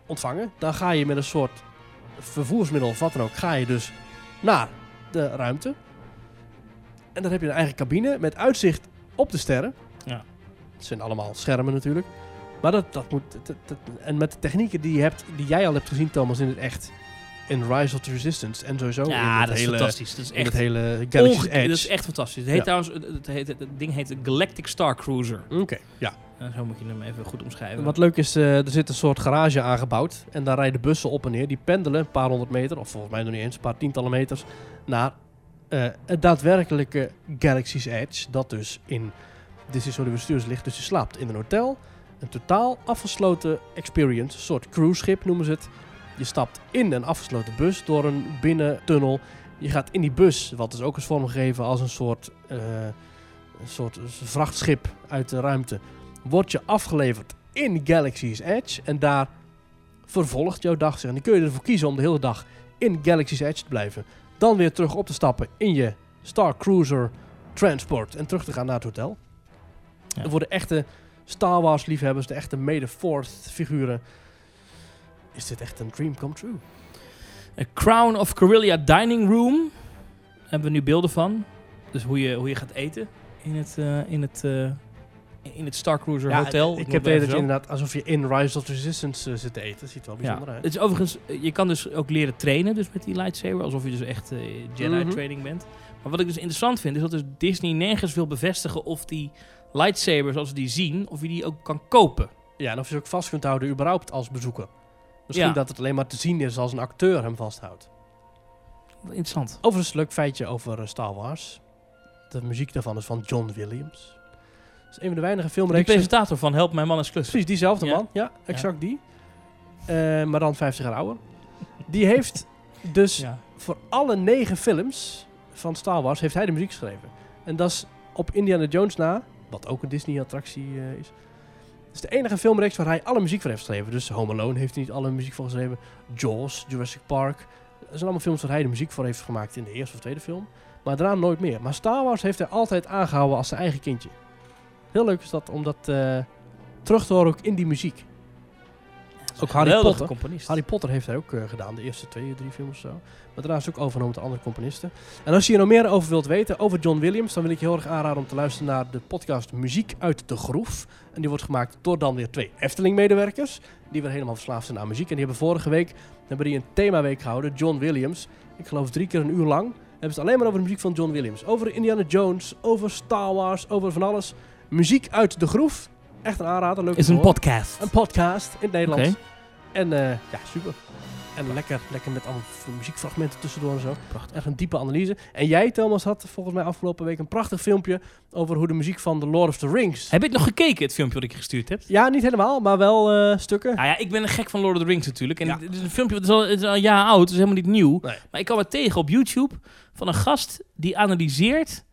ontvangen. Dan ga je met een soort vervoersmiddel of wat dan ook... ga je dus naar de ruimte. En dan heb je een eigen cabine met uitzicht op de sterren. Ja. Het zijn allemaal schermen natuurlijk. Maar dat, dat moet. dat- dat- en met de technieken die, je hebt, die jij al hebt gezien, Thomas, in het echt. In Rise of the Resistance en sowieso. in ja, het dat is hele, fantastisch. Dat is In echt het hele Galaxy's onge- Edge. Dat is echt fantastisch. Het, heet Ja. trouwens, het, het heet, het ding heet de Galactic Star Cruiser. Oké, ja. Nou, zo moet je hem even goed omschrijven. En Hm? Wat leuk is, eh, er zit een soort garage aangebouwd. En daar rijden bussen op en neer. Die pendelen een paar honderd meter, of volgens mij nog niet eens, een paar tientallen meters. Naar eh, het daadwerkelijke Galaxy's Edge. Dat dus in Disney's Hollywood Studios ligt. Dus je slaapt in een hotel. een totaal afgesloten experience, een soort cruiseschip noemen ze het. Je stapt in een afgesloten bus door een binnentunnel. Je gaat in die bus, wat is ook eens vormgegeven als een soort, eh, een soort vrachtschip uit de ruimte. Word je afgeleverd in Galaxy's Edge en daar vervolgt jouw dag zich. En dan kun je ervoor kiezen om de hele dag in Galaxy's Edge te blijven. Dan weer terug op te stappen in je Star Cruiser Transport en terug te gaan naar het hotel. Ja. En voor de echte Star Wars liefhebbers, de echte Made Force figuren, is dit echt een dream come true. A Crown of Corellia Dining Room. Daar hebben we nu beelden van. Dus hoe je, hoe je gaat eten in het, eh, in het, eh, in het Star Cruiser Hotel. Ik, heb moet maar de hele even tijd zo. inderdaad alsof je in Rise of the Resistance eh, zit te eten. Ziet er wel bijzonder ja. uit. Het is overigens, eh, je kan dus ook leren trainen dus met die lightsaber. Alsof je dus echt eh, Jedi Mhm. training bent. Maar wat ik dus interessant vind, is dat dus Disney nergens wil bevestigen of die lightsabers, als we die zien, of je die ook kan kopen. Ja, en of je ze ook vast kunt houden überhaupt als bezoeker. Misschien Ja. dat het alleen maar te zien is als een acteur hem vasthoudt. Interessant. Overigens, leuk feitje over eh, Star Wars. De muziek daarvan is van John Williams. Dat is een van de weinige Die filmregisseurs... presentator van Help Mijn Man is Klus. Precies, diezelfde Ja. man. Ja, exact die. Eh, maar dan 50 jaar ouder. Die heeft dus Ja. voor alle negen films van Star Wars heeft hij de muziek geschreven. En dat is op Indiana Jones na, wat ook een Disney-attractie eh, is. Het is de enige filmreeks waar hij alle muziek voor heeft geschreven. Dus Home Alone heeft hij niet alle muziek voor geschreven. Jaws, Jurassic Park. Dat zijn allemaal films waar hij de muziek voor heeft gemaakt in de eerste of tweede film. Maar daarna nooit meer. Maar Star Wars heeft hij altijd aangehouden als zijn eigen kindje. Heel leuk is dat om dat eh, terug te horen ook in die muziek. Ook Harry Geweldige Potter. componist. Harry Potter heeft hij ook eh, gedaan, de eerste twee, drie films of zo. Maar daarna is ook overgenomen door andere componisten. En als je hier nog meer over wilt weten, over John Williams, dan wil ik je heel erg aanraden om te luisteren naar de podcast Muziek uit de Groef. En die wordt gemaakt door dan weer twee Efteling-medewerkers, die weer helemaal verslaafd zijn aan muziek. En die hebben vorige week hebben die een themaweek gehouden, John Williams. Ik geloof drie keer een uur lang. Hebben ze het alleen maar over de muziek van John Williams. Over Indiana Jones, over Star Wars, over van alles. Muziek uit de Groef. Echt een aanrader, leuk om is te een horen. podcast. Een podcast in het Nederlands. Oké. En eh, ja, super. En lekker, lekker met allemaal v- muziekfragmenten tussendoor en zo. Prachtig. Echt een diepe analyse. En jij, Thomas, had volgens mij afgelopen week een prachtig filmpje over hoe de muziek van The Lord of the Rings... Heb je het nog gekeken, het filmpje wat ik je gestuurd heb? Ja, niet helemaal, maar wel eh, stukken. Nou ja, ik ben een gek van Lord of the Rings natuurlijk. En Ja. dit is een filmpje, dat is al, het is al een jaar oud, het is helemaal niet nieuw. Nee. Maar ik kwam het tegen op YouTube van een gast die analyseert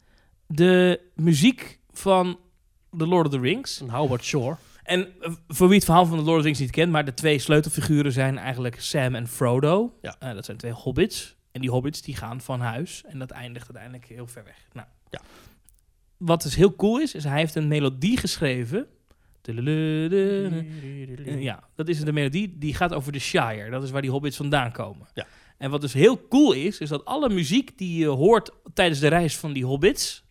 de muziek van The Lord of the Rings. Een Howard Shore. En eh, voor wie het verhaal van The Lord of the Rings niet kent, maar de twee sleutelfiguren zijn eigenlijk Sam en Frodo. Ja. Eh, dat zijn twee hobbits. En die hobbits die gaan van huis en dat eindigt uiteindelijk heel ver weg. Nou, Ja. Wat dus heel cool is, is hij heeft een melodie geschreven. Tudelu- Eh, ja, dat is de melodie. Die gaat over de Shire. Dat is waar die hobbits vandaan komen. Ja. En wat dus heel cool is, is dat alle muziek die je hoort tijdens de reis van die hobbits...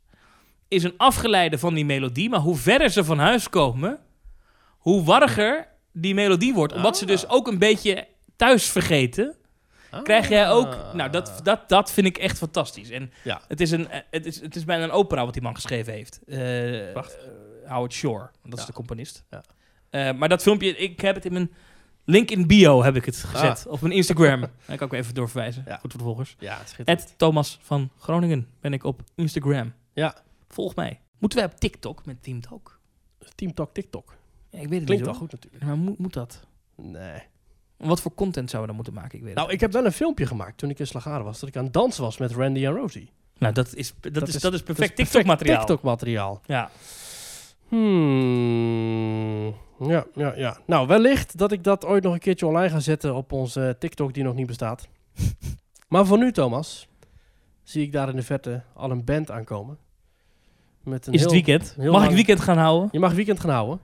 is een afgeleide van die melodie. Maar hoe verder ze van huis komen, hoe warriger die melodie wordt. Omdat ze dus ook een beetje thuis vergeten. Krijg jij ook... Nou, dat, dat, dat vind ik echt fantastisch. En Ja. het, is een, eh, het, is, het is bijna een opera wat die man geschreven heeft. Eh, Prachtig. eh, Howard Shore. Dat Ja. is de componist. Ja. Eh, maar dat filmpje, ik heb het in mijn link in bio heb ik het gezet. Op mijn Instagram. [laughs] Daar kan ik ook even doorverwijzen. Ah. Ja. Goed voor de volgers. Ja, schitterend. Ed Thomas van Groningen ben ik op Instagram. Ja. Volg mij. Moeten wij op TikTok met Team Talk? Team Talk TikTok. Ja, ik weet het Klinkt wel niet hoor. goed natuurlijk. Maar moet, moet dat? Nee. Wat voor content zouden we dan moeten maken? Ik weet het Nou, ik heb wel een filmpje gemaakt toen ik in Slagaren was, dat ik aan het dansen was met Randy en Rosie. niet. nou dat, is, dat, is, is- dat is perfect Dat is TikTok-materiaal. TikTok materiaal. Ja. Hmm. Ja, ja, ja. Nou, wellicht dat ik dat ooit nog een keertje online ga zetten op onze eh, TikTok die nog niet [laughs] bestaat. maar voor nu, Thomas, zie ik daar in de verte al een band aankomen. Met een Is heel- het weekend? heel Mag ik lang- weekend gaan houden? Je mag weekend gaan houden.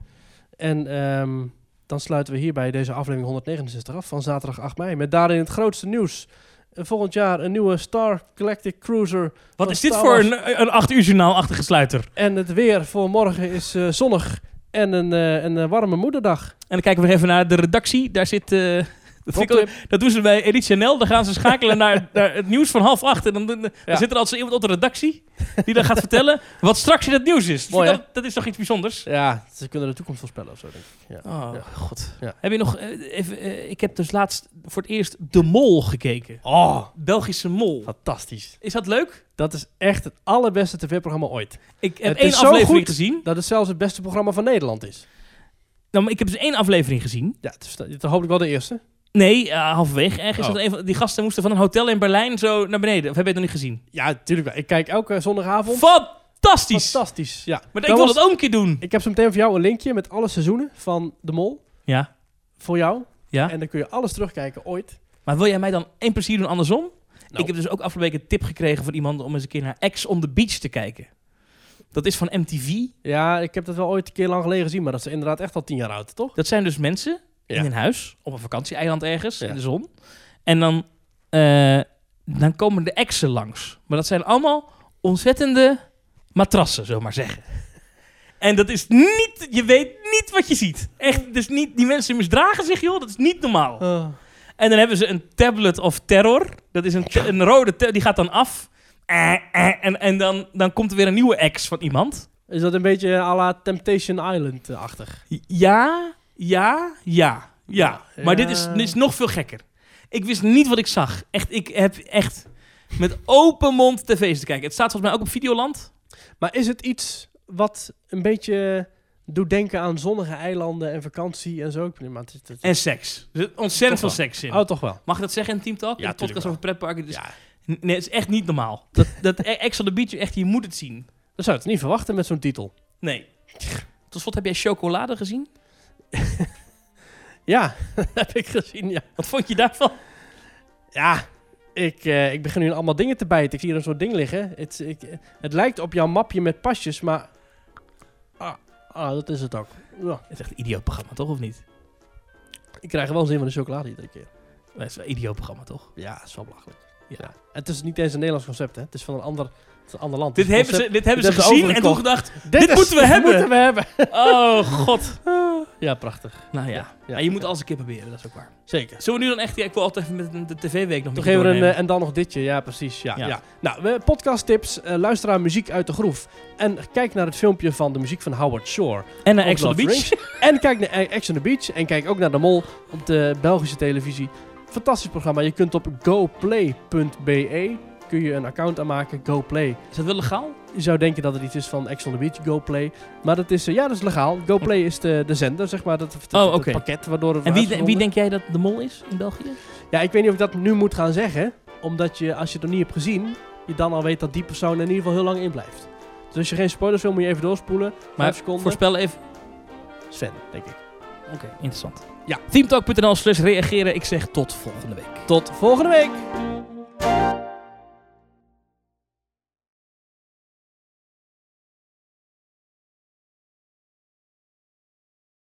En ehm, dan sluiten we hierbij deze aflevering 169 af van zaterdag 8 mei. Met daarin het grootste nieuws. Eh, Volgend jaar een nieuwe Star Galactic [laughs] Cruiser. Wat van is dit Star voor Wars. een, een acht uur journaal achtige sluiter? En het weer voor morgen is eh, zonnig en een, eh, een eh, warme moederdag. En dan kijken we nog even naar de redactie. Daar zit. eh, dat, vind ik ook- dat doen ze bij Edith Chanel. Dan gaan ze schakelen [laughs] naar, naar het nieuws van half acht. En dan, dan, dan Ja. zit er altijd zo iemand op de redactie. die dan gaat vertellen wat straks in het nieuws is. Dat Mooi, vind ik al- dat is toch iets bijzonders? Ja, ze kunnen de toekomst voorspellen of zo, denk ik. Ja. Oh, Ja. god. Ja. Heb je nog. eh, even, eh, ik heb dus laatst voor het eerst De Mol gekeken. Oh, Belgische Mol. fantastisch. Is dat leuk? Dat is echt het allerbeste tv-programma ooit. Ik heb Het één is zo aflevering goed. gezien. Dat het zelfs het beste programma van Nederland is. Nou, maar ik heb dus één aflevering gezien. Ja, het is, het is hopelijk wel de eerste. Nee, eh, halverwege ergens. Oh. Dat een van, die gasten moesten van een hotel in Berlijn zo naar beneden. Of heb je het nog niet gezien? Ja, natuurlijk wel. Ik kijk elke zondagavond. Fantastisch! Fantastisch. Ja. Maar Dat ik wil was- dat ook een keer doen. Ik heb zo meteen voor jou een linkje met alle seizoenen van De Mol. Ja. Voor jou. Ja. En dan kun je alles terugkijken ooit. Maar wil jij mij dan één plezier doen andersom? Nou. Ik heb dus ook afgelopen week een tip gekregen van iemand om eens een keer naar Ex on the Beach te kijken. Dat is van MTV. Ja, ik heb dat wel ooit een keer lang geleden gezien, maar dat is inderdaad echt al tien jaar oud, toch? Dat zijn dus mensen Ja. in een huis, op een vakantieeiland ergens, Ja. in de zon. En dan, eh, dan komen de exen langs. Maar dat zijn allemaal ontzettende matrassen, zullen we maar zeggen. En dat is niet, je weet niet wat je ziet. Echt, dus niet, die mensen misdragen zich, joh. Dat is niet normaal. En dan hebben ze een tablet of terror. Dat is een, ta- een rode ta- die gaat dan af. Eh, eh, en en dan, dan komt er weer een nieuwe ex van iemand. Is dat een beetje à la Temptation Island-achtig? Ja, ja, ja, ja. Maar dit is, Ja. dit is nog veel gekker. Ik wist niet wat ik zag. Echt, ik heb echt met open mond tv's te kijken. Het staat volgens mij ook op Videoland. Maar is het iets wat een beetje doet denken aan zonnige eilanden en vakantie en zo? Ik bedoel, Maar het, is- het, En seks. Er zit ontzettend veel Toch wel. seks in. oh, toch wel. Mag ik dat zeggen in Team Talk? Ja, de podcast tuurlijk wel. over pretparken. Dus Ja. Nee, het is echt niet normaal. Dat, dat [laughs] Ex on the Beach, echt, je moet het zien. Dat zou je het niet verwachten met zo'n titel. Nee. Tot slot, heb jij chocolade gezien? Ja, [laughs] dat heb ik gezien, ja. Wat vond je daarvan? Ja, ik, eh, ik begin nu allemaal dingen te bijten. Ik zie hier een soort ding liggen. Het, ik, eh, het lijkt op jouw mapje met pasjes, maar... Ah, ah dat is het ook. Ja, Het is echt een idioot programma, toch? Of niet? ik krijg er wel zin van de chocolade iedere keer. Het is wel een idioot programma, toch? Ja, dat is wel belachelijk. Ja. Ja. Het is niet eens een Nederlands concept, hè. Het is van een ander, het is een ander land. Dit Het hebben ze, concept- dit hebben ze hebben ze gezien en toen overgekocht. gedacht, Dit, dit is- moeten we dit hebben. moeten we hebben. oh god. Ja, prachtig. Nou ja, ja, Maar je moet ja. alles een keer proberen, dat is ook waar. Zeker. Zullen we nu dan echt, ja, ik wil altijd even met een- de tv-week nog Toch een keer even een, doornemen. eh, en dan nog ditje. Ja, precies. Ja, Ja. ja. Nou, we- podcasttips, eh, luister aan muziek uit de groef. En kijk naar het filmpje van de muziek van Howard Shore. En naar Ook [laughs] Ex on the Love Beach. En kijk naar Action on the Beach. En kijk ook naar De Mol op de Belgische televisie. Fantastisch programma. Je kunt op goplay.be kun je een account aanmaken. GoPlay. Is dat wel legaal? Je zou denken dat het iets is van Action on the Beach, GoPlay. Maar dat is, eh, ja, dat is legaal. GoPlay is de, de zender, zeg maar. Dat, dat- Oh, dat oké. pakket waardoor het En wordt wie, wie uitgezonden. denk jij dat de mol is in België? Ja, ik weet niet of ik dat nu moet gaan zeggen. Omdat je, als je het nog niet hebt gezien, je dan al weet dat die persoon er in ieder geval heel lang in blijft. Dus als je geen spoilers wil, moet je even doorspoelen. Maar Vijf seconden. voorspel even. Sven, denk ik. Oké, interessant. Ja. Teamtalk.nl slash reageren. Ik zeg tot volgende week. Tot volgende week!